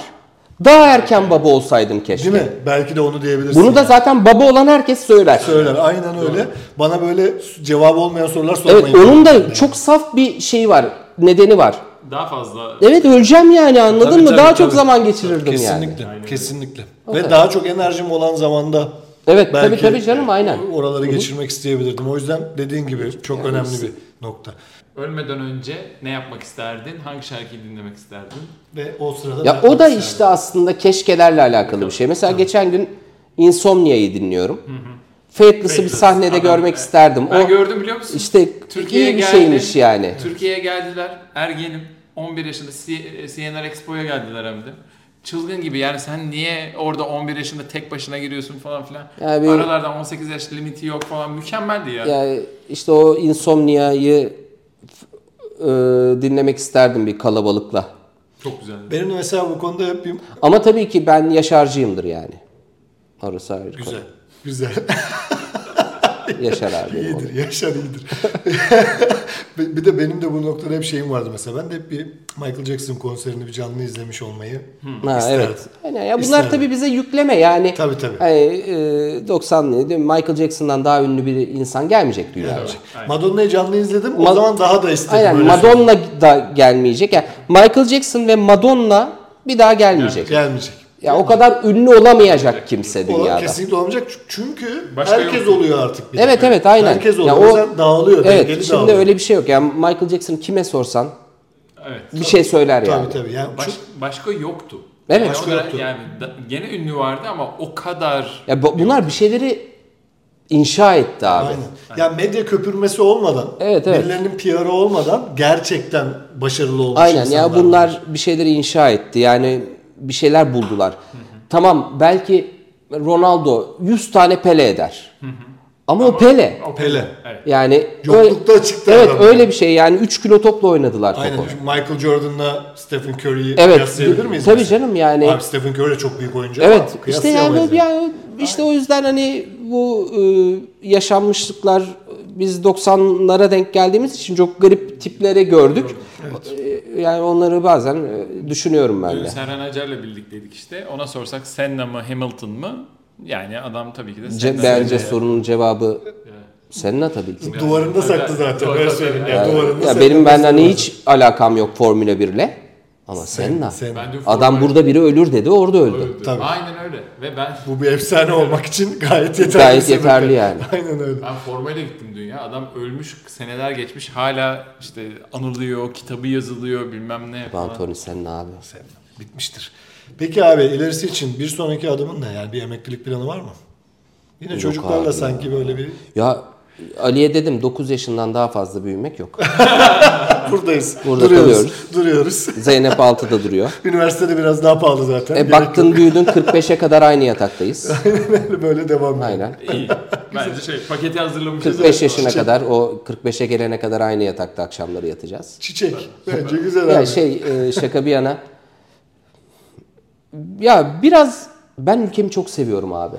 Daha erken baba olsaydım keşke. Değil mi? Belki de onu diyebilirsin. Bunu da yani. zaten baba olan herkes söyler. söyler. Aynen öyle. Bana böyle cevabı olmayan sorular sormayın. Evet onun da çok saf bir şeyi var. Nedeni var. Daha fazla Evet öleceğim yani anladın Tabii, mı? tabii, daha çok tabii. zaman geçirirdim yani. Kesinlikle. Kesinlikle. Ve daha çok enerjim olan zamanda Evet, tabii, tabii canım, aynen. Oraları geçirmek isteyebilirdim. O yüzden dediğin gibi çok önemli bir nokta. Ölmeden önce ne yapmak isterdin? Hangi şarkıyı dinlemek isterdin? Ve o sırada Ya ne o da yapmak isterdin? işte aslında keşkelerle alakalı bir şey. Mesela geçen gün Insomnia'yı dinliyorum. Faithless'ı bir Faithless. sahnede Adam, görmek e, isterdim. Ben o gördüm biliyor musun? işte Türkiye'ye iyi bir geldi. şeymiş yani. Türkiye'ye geldiler. Ergenim. 11 yaşında C- CNR Expo'ya geldiler hem de. Çılgın gibi yani sen niye orada 11 yaşında tek başına giriyorsun falan filan. Ya bir- Aralardan 18 yaş limiti yok falan mükemmeldi ya. Yani işte o Insomnia'yı e, dinlemek isterdim bir kalabalıkla. Çok güzeldi. Benim de mesela bu konuda hep bir... Ama tabii ki ben yaşarcıyımdır yani. Orası ayrı konu. Güzel. Güzel. Yaşar abi. benim İyidir, yaşar iyidir. bir bir de benim de bu noktada hep şeyim vardı mesela. Ben de hep bir Michael Jackson konserini bir canlı izlemiş olmayı oğlum. Ha, isterdim. evet. Yani ya bunlar İsterdim. tabii bize yükleme yani. Tabii, tabii. Hani, e, 90'lı değil mi? Michael Jackson'dan daha ünlü bir insan gelmeyecek dünyaya. Madonna'yı canlı izledim. Ma- o zaman daha da istedim. Aynen öyle söyleyeyim. Madonna da gelmeyecek. Yani Michael Jackson ve Madonna bir daha gelmeyecek. Ya Gelmeyecek. o kadar ünlü olamayacak kimse Olan dünyada. kesinlikle olmayacak. Çü- Çünkü Başka herkes yok. oluyor artık bir de. Evet evet aynen. Herkes Ya oluyor. o yüzden dağılıyor. Evet dengeli şimdi dağılıyor. öyle bir şey yok. Yani Michael Jackson kime sorsan Evet. bir şey söyler Tabii yani. tabii. Yani Baş- çok- başka yoktu. Evet. Yani, o Başka kadar- yoktu. yani da- gene ünlü vardı ama o kadar Ya bu- bunlar bir şeyleri inşa etti abi. Aynen. Ya medya köpürmesi olmadan, Evet, evet. birilerinin PR'ı olmadan gerçekten başarılı olmuş Aynen ya insanlar bunlar bir şeyleri inşa etti. Yani bir şeyler buldular. tamam belki Ronaldo 100 tane Pele eder. Ama o Pele. var. Pele. Yani Yoklukta öyle, çıktı Evet adam. öyle bir şey. Yani 3 kilo topla oynadılar Aynen. topu. Şu Michael Jordan'la Stephen Curry'yi Evet. kıyaslayabilir miyiz? Tabii mesela? canım yani. Abi Stephen Curry de çok büyük oyuncu Evet ama işte yani, kıyaslayamayız. bu- yani işte o yüzden hani bu e, yaşanmışlıklar biz 90'lara denk geldiğimiz için çok garip tiplere gördük. E, Yani onları bazen e, düşünüyorum ben de. Serhan Acar'la birlikteydik işte. Ona sorsak Senna mı Hamilton mı? Yani adam tabii ki de Ce- Senna. bence sorunun cevabı Senna tabii ki. Duvarında saklı zaten. Tabii, Öyle tabii. söyleyeyim. Yani Yani- duvarında ya saklı. benim benden hani hiç alakam yok Formula 1'le ama Senna. Sen- Bence Adam Formula burada biri ölür dedi orada öldü. öldü. Tabii. Aynen öyle. Ve ben bu bir efsane olmak için gayet yeterli. Gayet sebep. yeterli yani. Aynen öyle. ben formayla gittim dünya. Adam ölmüş, seneler geçmiş. Hala işte anılıyor, kitabı yazılıyor, bilmem ne falan. Anthony Senna abi. Sen- Bitmiştir. Peki abi ilerisi için bir sonraki adımın ne? Yani bir emeklilik planı var mı? Yine Yok abi çocuklarla ya. sanki böyle bir Ya Ali'ye dedim 9 yaşından daha fazla büyümek yok. buradayız. Burada duruyoruz. kalıyoruz. Duruyoruz. Zeynep 6'da duruyor. Üniversitede biraz daha pahalı zaten. E Gerek baktın büyüdün 45'e kadar aynı yataktayız. yok. böyle devam ediyor. Aynen. İyi. Bence şey paketi hazırlamışız. 45 yaşına şey- kadar o 45'e gelene kadar aynı yatakta akşamları yatacağız. Çiçek. Bence güzel abi. Ya şey e, şaka bir yana. Ya biraz ben ülkemi çok seviyorum abi.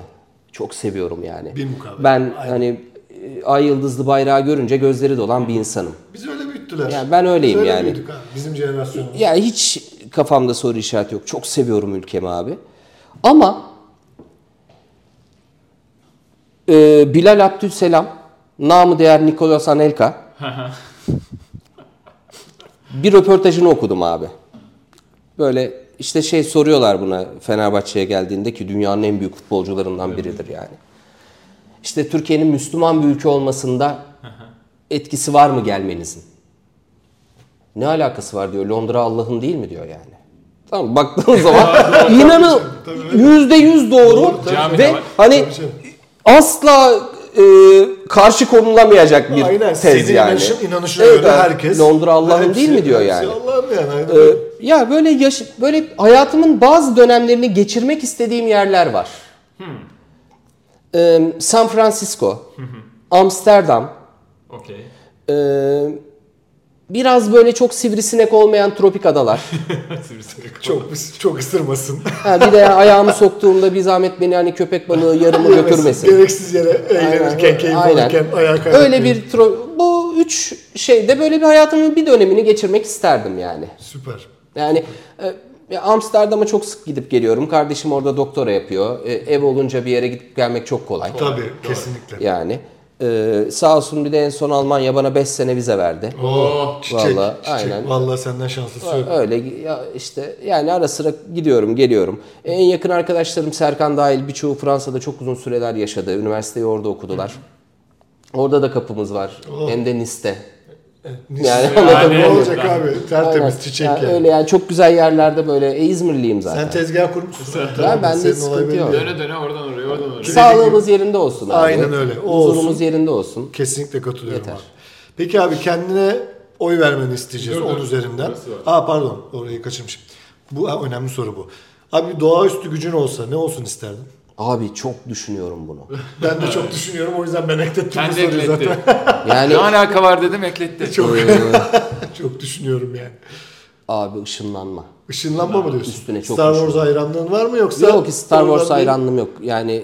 Çok seviyorum yani. Bir mukabele. Ben hani e, ay yıldızlı bayrağı görünce gözleri dolan bir insanım. Biz öyle büyüttüler. Ya ben öyleyim Biz öyle yani. büyüdük abi. Bizim jenerasyonumuz. Ya hiç kafamda soru işareti yok. Çok seviyorum ülkemi abi. Ama e, Bilal Abdülselam, namı değer Nikolas Anelka bir röportajını okudum abi. Böyle işte şey soruyorlar buna Fenerbahçe'ye geldiğinde ki dünyanın en büyük futbolcularından biridir yani. İşte Türkiye'nin Müslüman bir ülke olmasında etkisi var mı gelmenizin? Ne alakası var diyor. Londra Allah'ın değil mi diyor yani. Tamam baktığın zaman inanın yüzde yüz doğru tabii. ve Tabii, hani canım. asla e, karşı konulamayacak bir Aynen. tez Senin yani. inanışın, inanışına Evet, göre abi. herkes. Londra Allah'ın Hepsi- değil mi diyor hepsi yani. Allah'ın yani. Aynen. Ee, ya böyle yaş böyle hayatımın bazı dönemlerini geçirmek istediğim yerler var. Hmm. Ee, San Francisco, Amsterdam, Okey. ee, biraz böyle çok sivrisinek olmayan tropik adalar. çok, çok ısırmasın. Ha, bir de ayağımı soktuğumda bir zahmet beni hani köpek balığı yarımı götürmesin. Gereksiz yere eğlenirken, keyif Aynen. alırken ayağa kaydırmayın. Öyle bir tro- bu üç şeyde böyle bir hayatımın bir dönemini geçirmek isterdim yani. Süper. Yani e, ya Amsterdam'a çok sık gidip geliyorum. Kardeşim orada doktora yapıyor. E, ev olunca bir yere gidip gelmek çok kolay. Tabii kesinlikle. Yani e, sağ olsun bir de en son Almanya bana 5 sene vize verdi. Oo, Oh, çiçek, Vallahi, çiçek. aynen. Vallahi senden şanslısın. Öyle ya işte yani ara sıra gidiyorum geliyorum. E, En yakın arkadaşlarım Serkan dahil birçoğu Fransa'da çok uzun süreler Oh. yaşadı. Üniversiteyi orada okudular. Orada da kapımız var. Hem de Nice'te. Yani anladın ne mı? olacak abi? Tertemiz Aynen. çiçek yani yani. Öyle yani çok güzel yerlerde böyle. E, İzmirliyim zaten. Sen tezgah kurmuşsun. Tamam, ben de senin hiç olay sıkıntı belli yok. değil. Döne döne oradan oraya oradan oraya. Sağlığımız yerinde olsun abi. Aynen öyle. O olsun. Huzurumuz yerinde olsun. Kesinlikle katılıyorum Yeter. abi. Peki abi kendine oy vermeni isteyeceğiz Yok, 10 yok. üzerinden. Orası var. Aa pardon orayı kaçırmışım. Bu ha, önemli soru bu. Abi doğaüstü gücün olsa ne olsun isterdin? Abi çok düşünüyorum bunu. Ben de Ee, çok düşünüyorum o yüzden ben eklettim bu Ben de soruyu zaten. ekletti. Yani Ne alaka var dedim ekletti. çok düşünüyorum yani. abi ışınlanma. Işınlanma mı diyorsun? Üstüne çok Star Wars düşünüyorum. hayranlığın var mı yoksa? Yok ki Star Wars Oradan bir- hayranlığım yok. Yani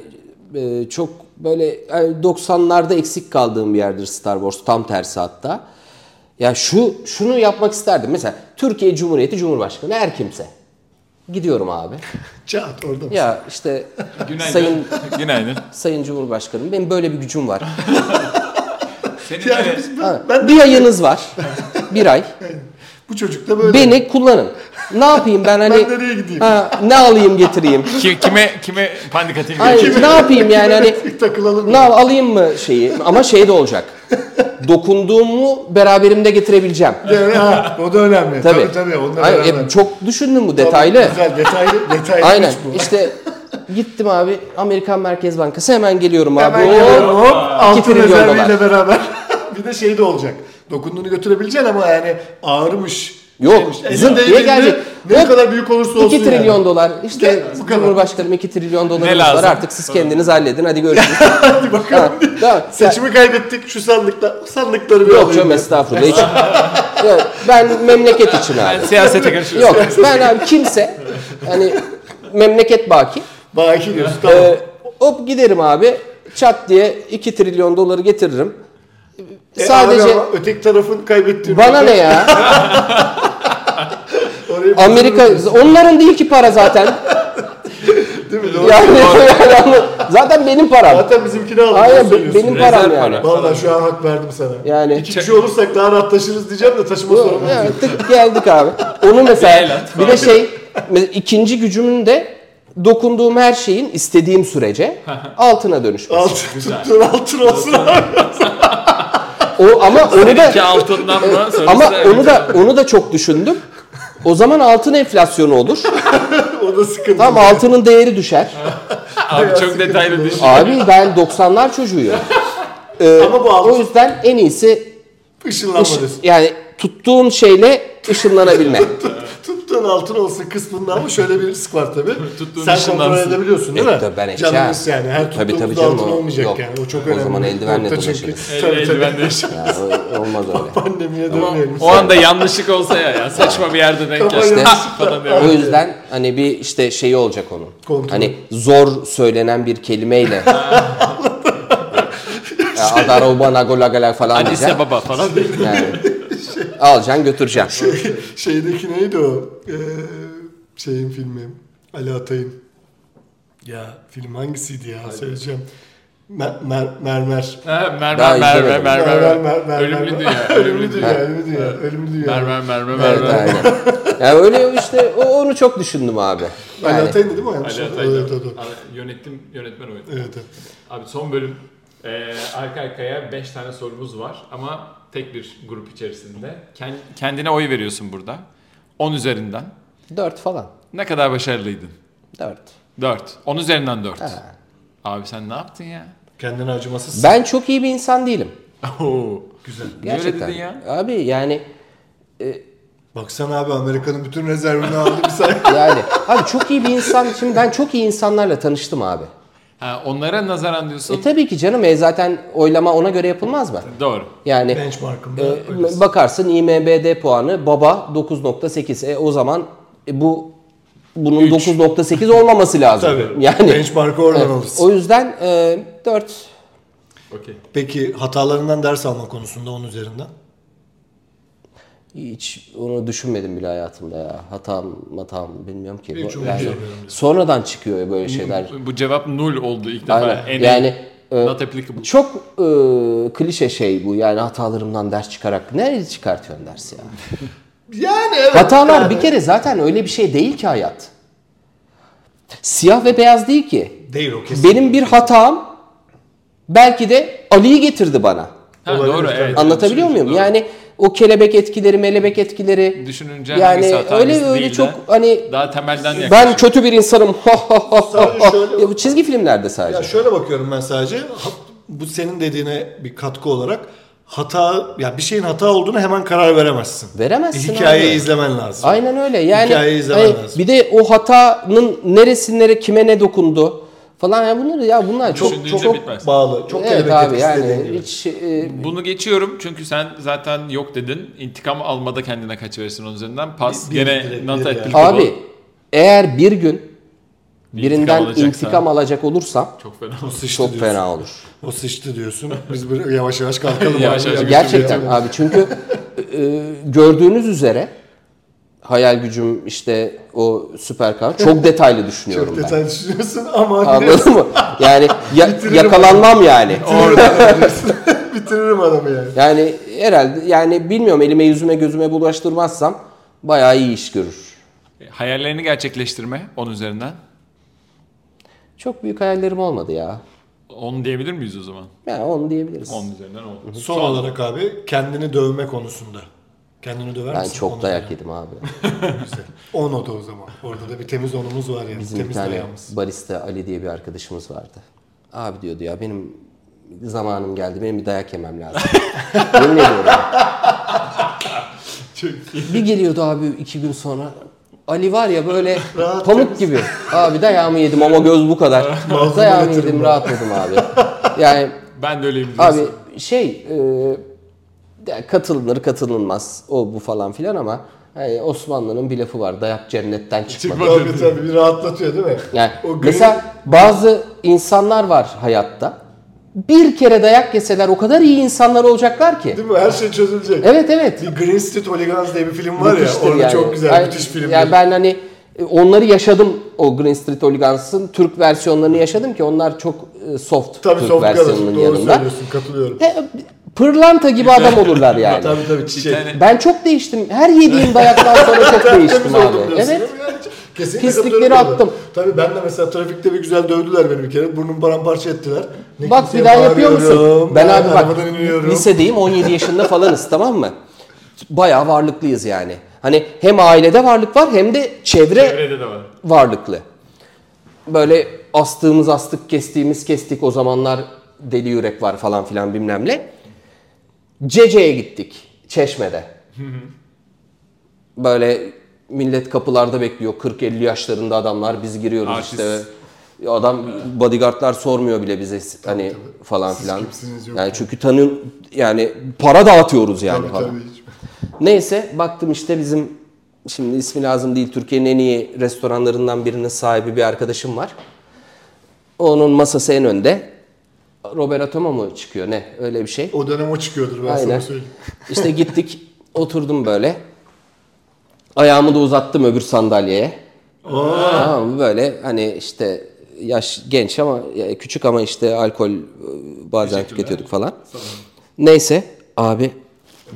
e, çok böyle yani 90'larda eksik kaldığım bir yerdir Star Wars. Tam tersi hatta. Ya şu şunu yapmak isterdim. Mesela Türkiye Cumhuriyeti Cumhurbaşkanı her kimse. Gidiyorum abi. Çat orada mısın? Ya işte Günaydın. sayın Günaydın. sayın Cumhurbaşkanım benim böyle bir gücüm var. Senin Yani de- biz- Ha, ben, ben- bir ayınız var. Bir ay. bu çocuk da böyle. Beni kullanın. Ne yapayım ben hani nereye gideyim? Ha, ne alayım getireyim? Ki- kime kime pandik atayım? Hayır, ne yapayım yani hani takılalım. ne yap- alayım mı şeyi? Ama şey de olacak. Dokunduğumu beraberimde getirebileceğim. Yani, ha, o da önemli. Tabii Tabii. tabii. onlar Hayır, e, önemli. çok düşündüm bu Tabii, detaylı. Güzel detaylı. Detaylı Aynen. iş bu. İşte gittim abi Amerikan Merkez Bankası hemen geliyorum abi. Hemen Oo, geliyorum hop. Altın trilyon rezerviyle dolar. beraber. bir de şey de olacak. Dokunduğunu götürebileceksin ama yani ağırmış. Yok, Şeymiş. zıp Elinde, diye elinde gelecek. Ne Hop, kadar büyük olursa olsun 2 trilyon yani. dolar. İşte Gel, bu kadar. Cumhurbaşkanım 2 trilyon dolarımız var lazım? artık siz kendiniz halledin hadi görüşürüz. Hadi bakalım. Ha, tamam. Seçimi kaybettik şu sandıkla. o Sandıkları bir Yok alayım canım ben. estağfurullah hiç. Yok, ben memleket için abi. Siyasete karışıyorsun. Yok ben abi kimse hani memleket baki. Baki diyorsun tamam. Ee, hop giderim abi çat diye 2 trilyon doları getiririm. E, Sadece abi ama öteki tarafın kaybettiği. bana ne ya? Orayı Amerika onların değil ki para zaten. Değil mi? Doğru. Yani, yani zaten benim param. Zaten bizimkini alın. Aynen doğru be- söylüyorsun. benim Rezerv param para. yani. Vallahi şu an hak verdim sana. Yani- İki kişi olursak daha rahat taşırız diyeceğim de taşıma Yok, sorunu. evet, tık geldik abi. Onu mesela at bir de şey mesela ikinci gücümün de dokunduğum her şeyin istediğim sürece altına dönüşmesi. Altın tuttuğun altın olsun abi. O ama onu Ki da altından mı? Sonrası ama da- onu da onu da çok düşündüm. O zaman altın enflasyonu olur. O da sıkıntı. Tam altının değeri düşer. Abi çok detaylı düşün. Abi ben 90'lar çocuğuyum. Ee, Ama bu altın- o yüzden en iyisi Işınlanma ışı- diyorsun. yani tuttuğum şeyle ışınlanabilme. Tuttuğun altın olsun kısmında ama şöyle bir risk var tabii. Tuttuğun Sen kontrol ışınlansın. edebiliyorsun değil E, mi? tabii ben edeceğim. Canımız yani. Her Tabii, tuttuğumuz tabii canım, altın o- olmayacak yok. yani. O çok O önemli. zaman bir eldivenle nokta çünkü. dolaşırız. El- Tabii tabii. şey. eldiven değişik. Ya, o- olmaz öyle. Pandemiye dönmeyelim. O anda yanlışlık olsa ya, ya saçma bir yerde denk Kafayı geldi. yanlışlıkla- falan diyor. O yüzden hani bir işte şeyi olacak onun. Kontrol. Hani zor söylenen bir kelimeyle. ya, Adaroba nagolagala falan diyeceksin. Hadise baba falan. Yani. Alacaksın götüreceksin. Şeydeki neydi o? Ee, şeyin filmi. Ali Atay'ın. Ya film hangisiydi ya? Söyleyeceğim. Mer- mer- mermer. Ha, Daha şey mermer mermer izlemedim. mermer. Ölümlü Mermer, mermer, mermer. dünya. Ölümlü Ölümlü dünya. dünya. Ölümlü dünya. Ölümlü dünya. Mermer mermer Evet, mermer. aynen. Ya öyle işte o- onu çok düşündüm abi. Ali Yani, Atay'ın değil mi? o? Yanlış Ali hatırlamıyorum. Atay'da. Evet, evet, Abi, Yönettim, yönetmen oydu. Evet, evet. Abi son bölüm. Ee, arka arkaya 5 tane sorumuz var ama tek bir grup içerisinde. Ken- Kendine oy veriyorsun burada. 10 üzerinden. dört falan. Ne kadar başarılıydın? Dört. 4. 10 üzerinden 4. Ha. Abi sen ne yaptın ya? Kendine acımasız. Ben çok iyi bir insan değilim. Güzel. Niye öyle Gerçekten. dedin ya? Abi yani Baksana abi Amerika'nın bütün rezervini aldı bir saniye. yani abi çok iyi bir insan. Şimdi ben çok iyi insanlarla tanıştım abi. Ha, onlara nazaran diyorsun. E tabii ki canım e zaten oylama ona göre yapılmaz mı? Doğru. Yani Benchmark'ımda E, öylesin. bakarsın IMBD puanı baba 9.8. E o zaman e, bu bunun 9.8 olmaması lazım. Tabii. Yani Benchmark'ı oradan Evet. alırsın. O yüzden e, 4 Okey. Peki hatalarından ders alma konusunda onun üzerinden? hiç onu düşünmedim bile hayatımda ya. Hatam, hatam bilmiyorum ki. Hiç Bu- onu yani, düşünmüyorum ya. sonradan çıkıyor ya böyle şeyler. Bu cevap nul oldu ilk defa. Aynen. En- Yani e, Not applicable. çok e, klişe şey bu yani hatalarımdan ders çıkarak. Nereye çıkartıyorsun ders ya? Yani evet. Hatalar bir kere zaten öyle bir şey değil ki hayat. Siyah ve beyaz değil ki. Değil o kesin. Benim bir hatam belki de Ali'yi getirdi bana. Ha, Olabilir doğru tabii. evet. Anlatabiliyor muyum? Yani o kelebek etkileri, melebek etkileri. Düşününce Yani hangisi hata, öyle hangisi öyle değil de çok hani daha şey. temelden yaklaşıyor. ben kötü bir insanım. Sadece şöyle- ya bu çizgi filmlerde sadece. Ya şöyle bakıyorum ben sadece ha- bu senin dediğine bir katkı olarak hata ya bir şeyin hata olduğunu hemen karar veremezsin. Veremezsin Bir hikayeyi abi. izlemen lazım. Aynen öyle. Yani Hikayeyi izlemen hani lazım. bir de o hatanın neresinlere kime ne dokundu falan ya bunları ya bunlar çok Düşündüğünce çok bitmez. bağlı. Çok evet elbette abi istediğin yani gibi. hiç e, Bunu geçiyorum çünkü sen zaten yok dedin. İntikam almada kendine kaç verirsin onun üzerinden. Pas Bir- bir direkt, gene bir not yani. ettik. abi eğer bir gün Bir birinden intikam alacaksa. intikam, alacak olursam Çok fena. O sıçtı çok diyorsun. fena olur. O sıçtı diyorsun. Biz böyle yavaş yavaş kalkalım. Yavaş abi. yavaş Yani Gerçekten yani. abi çünkü e, gördüğünüz üzere hayal gücüm işte o süper kahraman çok detaylı düşünüyorum Çok ben. detay düşünüyorsun ama Anladın mı? Yani ya- yakalanmam yani. Orada bitiririm adamı yani. Yani herhalde yani bilmiyorum elime yüzüme gözüme bulaştırmazsam bayağı iyi iş görür. Hayallerini gerçekleştirme onun üzerinden. Çok büyük hayallerim olmadı ya. 10 diyebilir miyiz o zaman? Yani onu diyebiliriz. 10 üzerinden 10. Son olarak abi kendini dövme konusunda. Kendini döver Ben misin? çok Onu dayak döver. yedim abi. On o da o zaman. Orada da bir temiz onumuz var yani. Bizim bir temiz tane dayağımız. barista Ali diye bir arkadaşımız vardı. Abi diyordu ya benim zamanım geldi benim bir dayak yemem lazım. Yemin ediyorum. Bir geliyordu abi iki gün sonra. Ali var ya böyle Rahat pamuk gibi. Abi dayağımı yedim ama göz bu kadar. dayağımı yatırım yedim ben. rahatladım abi. Yani Ben de öyleyim. Abi şey e, ya katılınır katılınmaz o bu falan filan ama hani Osmanlı'nın bir lafı var dayak cennetten çıkmadı. Tabii tabii bir rahatlatıyor değil mi? Yani O gün- mesela bazı insanlar var hayatta bir kere dayak yeseler o kadar iyi insanlar olacaklar ki. Değil mi? Her şey çözülecek. Evet evet. Bir Green Street Hooligans diye bir film var ya. Müthiştir Orada yani. çok güzel, Yani- müthiş film. Yani ben hani e, onları yaşadım o Green Street Hooligans'ın Türk versiyonlarını yaşadım ki onlar çok e, soft tabii Türk soft versiyonunun Doğru yanında. söylüyorsun. Katılıyorum. E, Pırlanta gibi adam olurlar yani. tabii tabii çiçek. tane- Ben çok değiştim. Her yediğim dayaktan sonra çok değiştim Temiz abi. oldum diyorsun, Evet. değil mi? Yani Kesinlikle Pislikleri katılıyorum buna. attım. Tabii ben de mesela trafikte bir güzel dövdüler beni bir kere. Burnumu paramparça ettiler. Ne Bak bir kimseye daha yapıyor musun? bağırıyorum, Ben abi bak arabadan iniyorum. lisedeyim 17 yaşında falanız tamam mı? Bayağı varlıklıyız yani. Hani hem ailede varlık var hem de çevre Çevrede de var. varlıklı. Böyle astığımız astık, kestiğimiz kestik o zamanlar deli yürek var falan filan bilmem ne. Cece'ye gittik Çeşme'de. Böyle millet kapılarda bekliyor. 40-50 yaşlarında adamlar biz giriyoruz Artist. işte. Adam bodyguardlar sormuyor bile bize hani falan filan. kimsiniz, yok Yani çünkü tanın yani para dağıtıyoruz yani Tabii falan. tabii. hiç- Neyse baktım işte bizim şimdi ismi lazım değil Türkiye'nin en iyi restoranlarından birinin sahibi bir arkadaşım var. Onun masası en önde. Robert Toma mı çıkıyor ne öyle bir şey. O dönem o çıkıyordur ben sana Aynen. söyleyeyim. İşte gittik oturdum böyle. Ayağımı da uzattım öbür sandalyeye. Tamam mı? Böyle hani işte yaş genç ama ya küçük ama işte alkol e, bazen tüketiyorduk falan. Neyse abi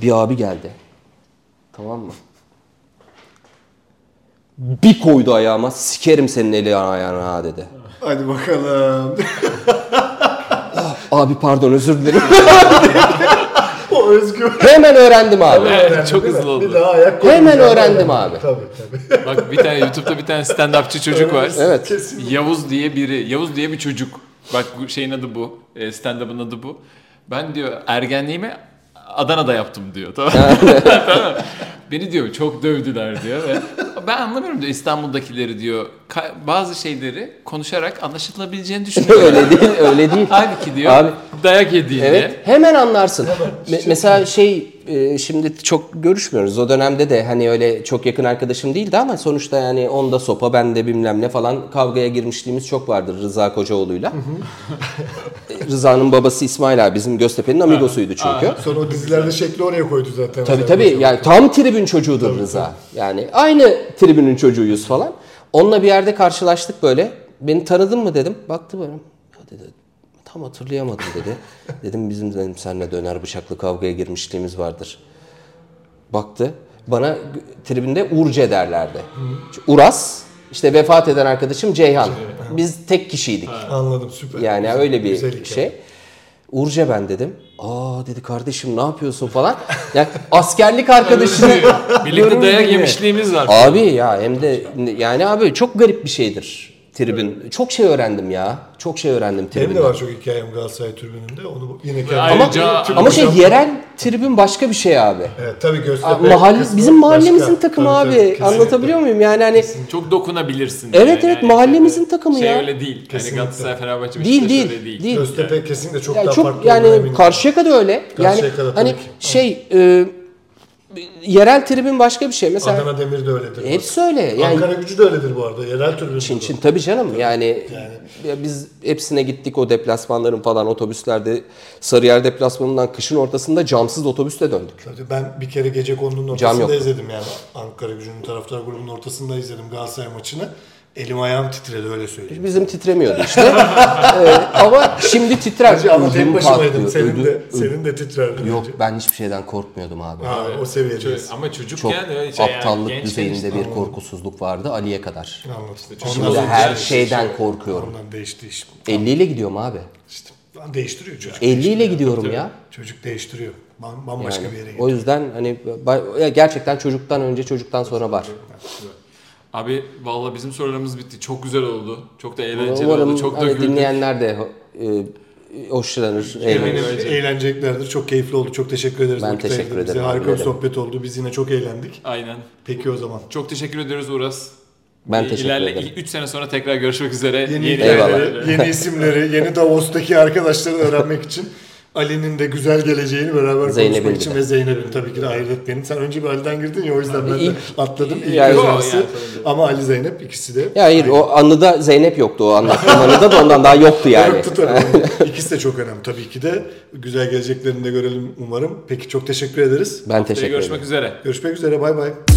bir abi geldi. Tamam mı? Bir koydu ayağıma sikerim senin eli ayağına ha dedi. Hadi bakalım. Abi pardon özür dilerim. o özgür. Hemen öğrendim abi. Evet, çok hızlı Bir oldu. daha ayak Hemen koymayacağım. öğrendim abi. Tabii tabii. Bak bir tane YouTube'da bir tane stand-upçı çocuk var. Evet. Kesin. Yavuz diye biri. Yavuz diye bir çocuk. Bak bu şeyin adı bu. E, Stand-up'ın adı bu. Ben diyor ergenliğimi Adana'da yaptım diyor. Tamam Tamam. Beni diyor çok dövdüler diyor. Ve ben anlamıyorum diyor İstanbul'dakileri diyor. Ka- bazı şeyleri konuşarak anlaşılabileceğini düşünüyorum. öyle değil öyle değil. Halbuki diyor Abi- dayak yediğinde Evet hemen anlarsın. Me- mesela şey e, şimdi çok görüşmüyoruz. O dönemde de hani öyle çok yakın arkadaşım değildi ama sonuçta yani onda sopa bende bilmem ne falan kavgaya girmişliğimiz çok vardır Rıza Kocaoğlu'yla. E, Rıza'nın babası İsmail abi bizim Göztepe'nin amigosuydu çünkü. Sonra o dizilerde şekli oraya koydu zaten. Tabii Mesela. tabii yani tam tribün çocuğudur Rıza. Yani aynı tribünün çocuğuyuz falan. Onunla bir yerde karşılaştık böyle. Beni tanıdın mı dedim. Baktı böyle. Ya dedi tam hatırlayamadım dedi. dedim bizim dedim seninle döner bıçaklı kavgaya girmişliğimiz vardır. Baktı. Bana g- tribünde Urce derlerdi. Uras işte vefat eden arkadaşım Ceyhan. Biz tek kişiydik. Anladım süper. Yani öyle bir Güzel hikaye. şey. Urce ben dedim. Aa dedi kardeşim ne yapıyorsun falan. Yani askerlik arkadaşını Birlikte görür dayak gibi. yemişliğimiz var. Abi ya hem de yani abi çok garip bir şeydir tribün. Çok şey öğrendim ya. Çok şey öğrendim Benim tribünden. de var çok hikayem Galatasaray tribününde. Onu yine kendim. Ama- Ama, Ayrıca- ama şey yerel tribün başka bir şey abi. Evet, tabii Abi, Göztepe. Mahalle, kısmı bizim mahallemizin başka. takımı Tabii, abi. tabii, kesinlikle. Anlatabiliyor muyum? Yani hani Çok dokunabilirsin. Evet, evet, mahallemizin takımı şey ya. öyle değil. Hani Kesinlikle. Galatasaray Fenerbahçe Değil, Beşiktaş değil, öyle değil. değil. Göztepe kesinlikle çok yani daha çok farklı. yani olduğuna eminim. Karşıyaka da öyle. Yani Karşıyaka da hani tabii ki. şey e, yerel tribün başka bir şey. Mesela Adana Demir de öyledir. hepsi öyle. Yani Ankara gücü de öyledir bu arada. Yerel tribünde. Çin de. Çin tabii canım yani, ya biz hepsine gittik o deplasmanların falan otobüslerde Sarıyer deplasmanından kışın ortasında camsız otobüste döndük. Tabii ben bir kere gece konunun yok. ortasında izledim yani. Ankara gücünün taraftar grubunun ortasında izledim Galatasaray maçını. Elim ayağım titredi öyle söyleyeyim. Bizim titremiyordu işte. Ee, ama şimdi titrer. Ama Ödüm tek başımaydım. patlıyor, Senin de, ödüm- senin de titrerdin. Yok önce. ben hiçbir şeyden korkmuyordum abi. Ha, o seviyedeyiz. Çö- Ee, Ama çocukken Çok öyle şey aptallık yani, gençken düzeyinde işte. bir korkusuzluk vardı Ali'ye kadar. Anlattı. Ondan Şimdi sonra her değişti şey. şeyden korkuyorum. Ondan değişti iş. 50 ile gidiyorum abi. İşte, lan değiştiriyor çocuk. 50 ile gidiyorum ya. Çocuk değiştiriyor. Bam- Bambaşka Yani bir yere o gidiyor. yüzden hani ba- ya gerçekten çocuktan önce çocuktan sonra var. Abi valla bizim sorularımız bitti. Çok güzel oldu. Çok da eğlenceli Umarım oldu. Çok da hani güldük. Şey, dinleyenler de e, hoşlanır. hani eğlenir. Yani eğleneceklerdir. Çok keyifli oldu. Çok teşekkür ederiz. Ben vakit teşekkür ayırdın bize. ederim. Harika bir Ederim. sohbet oldu. Biz yine çok eğlendik. Aynen. Peki o zaman. Çok teşekkür ediyoruz Uras. e, Ben teşekkür ederim. 3 sene sonra tekrar görüşmek üzere. Yeni Eyvallah. hikayeleri, yeni isimleri, yeni Davos'taki arkadaşları öğrenmek için Ali'nin de güzel geleceğini beraber Zeynep'in konuşmak için de. ve Zeynep'in tabii ki de ayırt etmenin. Sen önce bir Ali'den girdin ya o yüzden ben de ilk- atladım. İlk Yani- yani, Yok, yani Ama Ali Zeynep ikisi de Ya hayır o anıda Zeynep yoktu o anlattığım anıda da ondan daha yoktu yani. Yok, tutarım. İkisi de çok önemli tabii ki de. Güzel geleceklerini de görelim umarım. Peki çok teşekkür ederiz. Ben Haftaya teşekkür ederim. görüşmek üzere. Görüşmek üzere bay bay.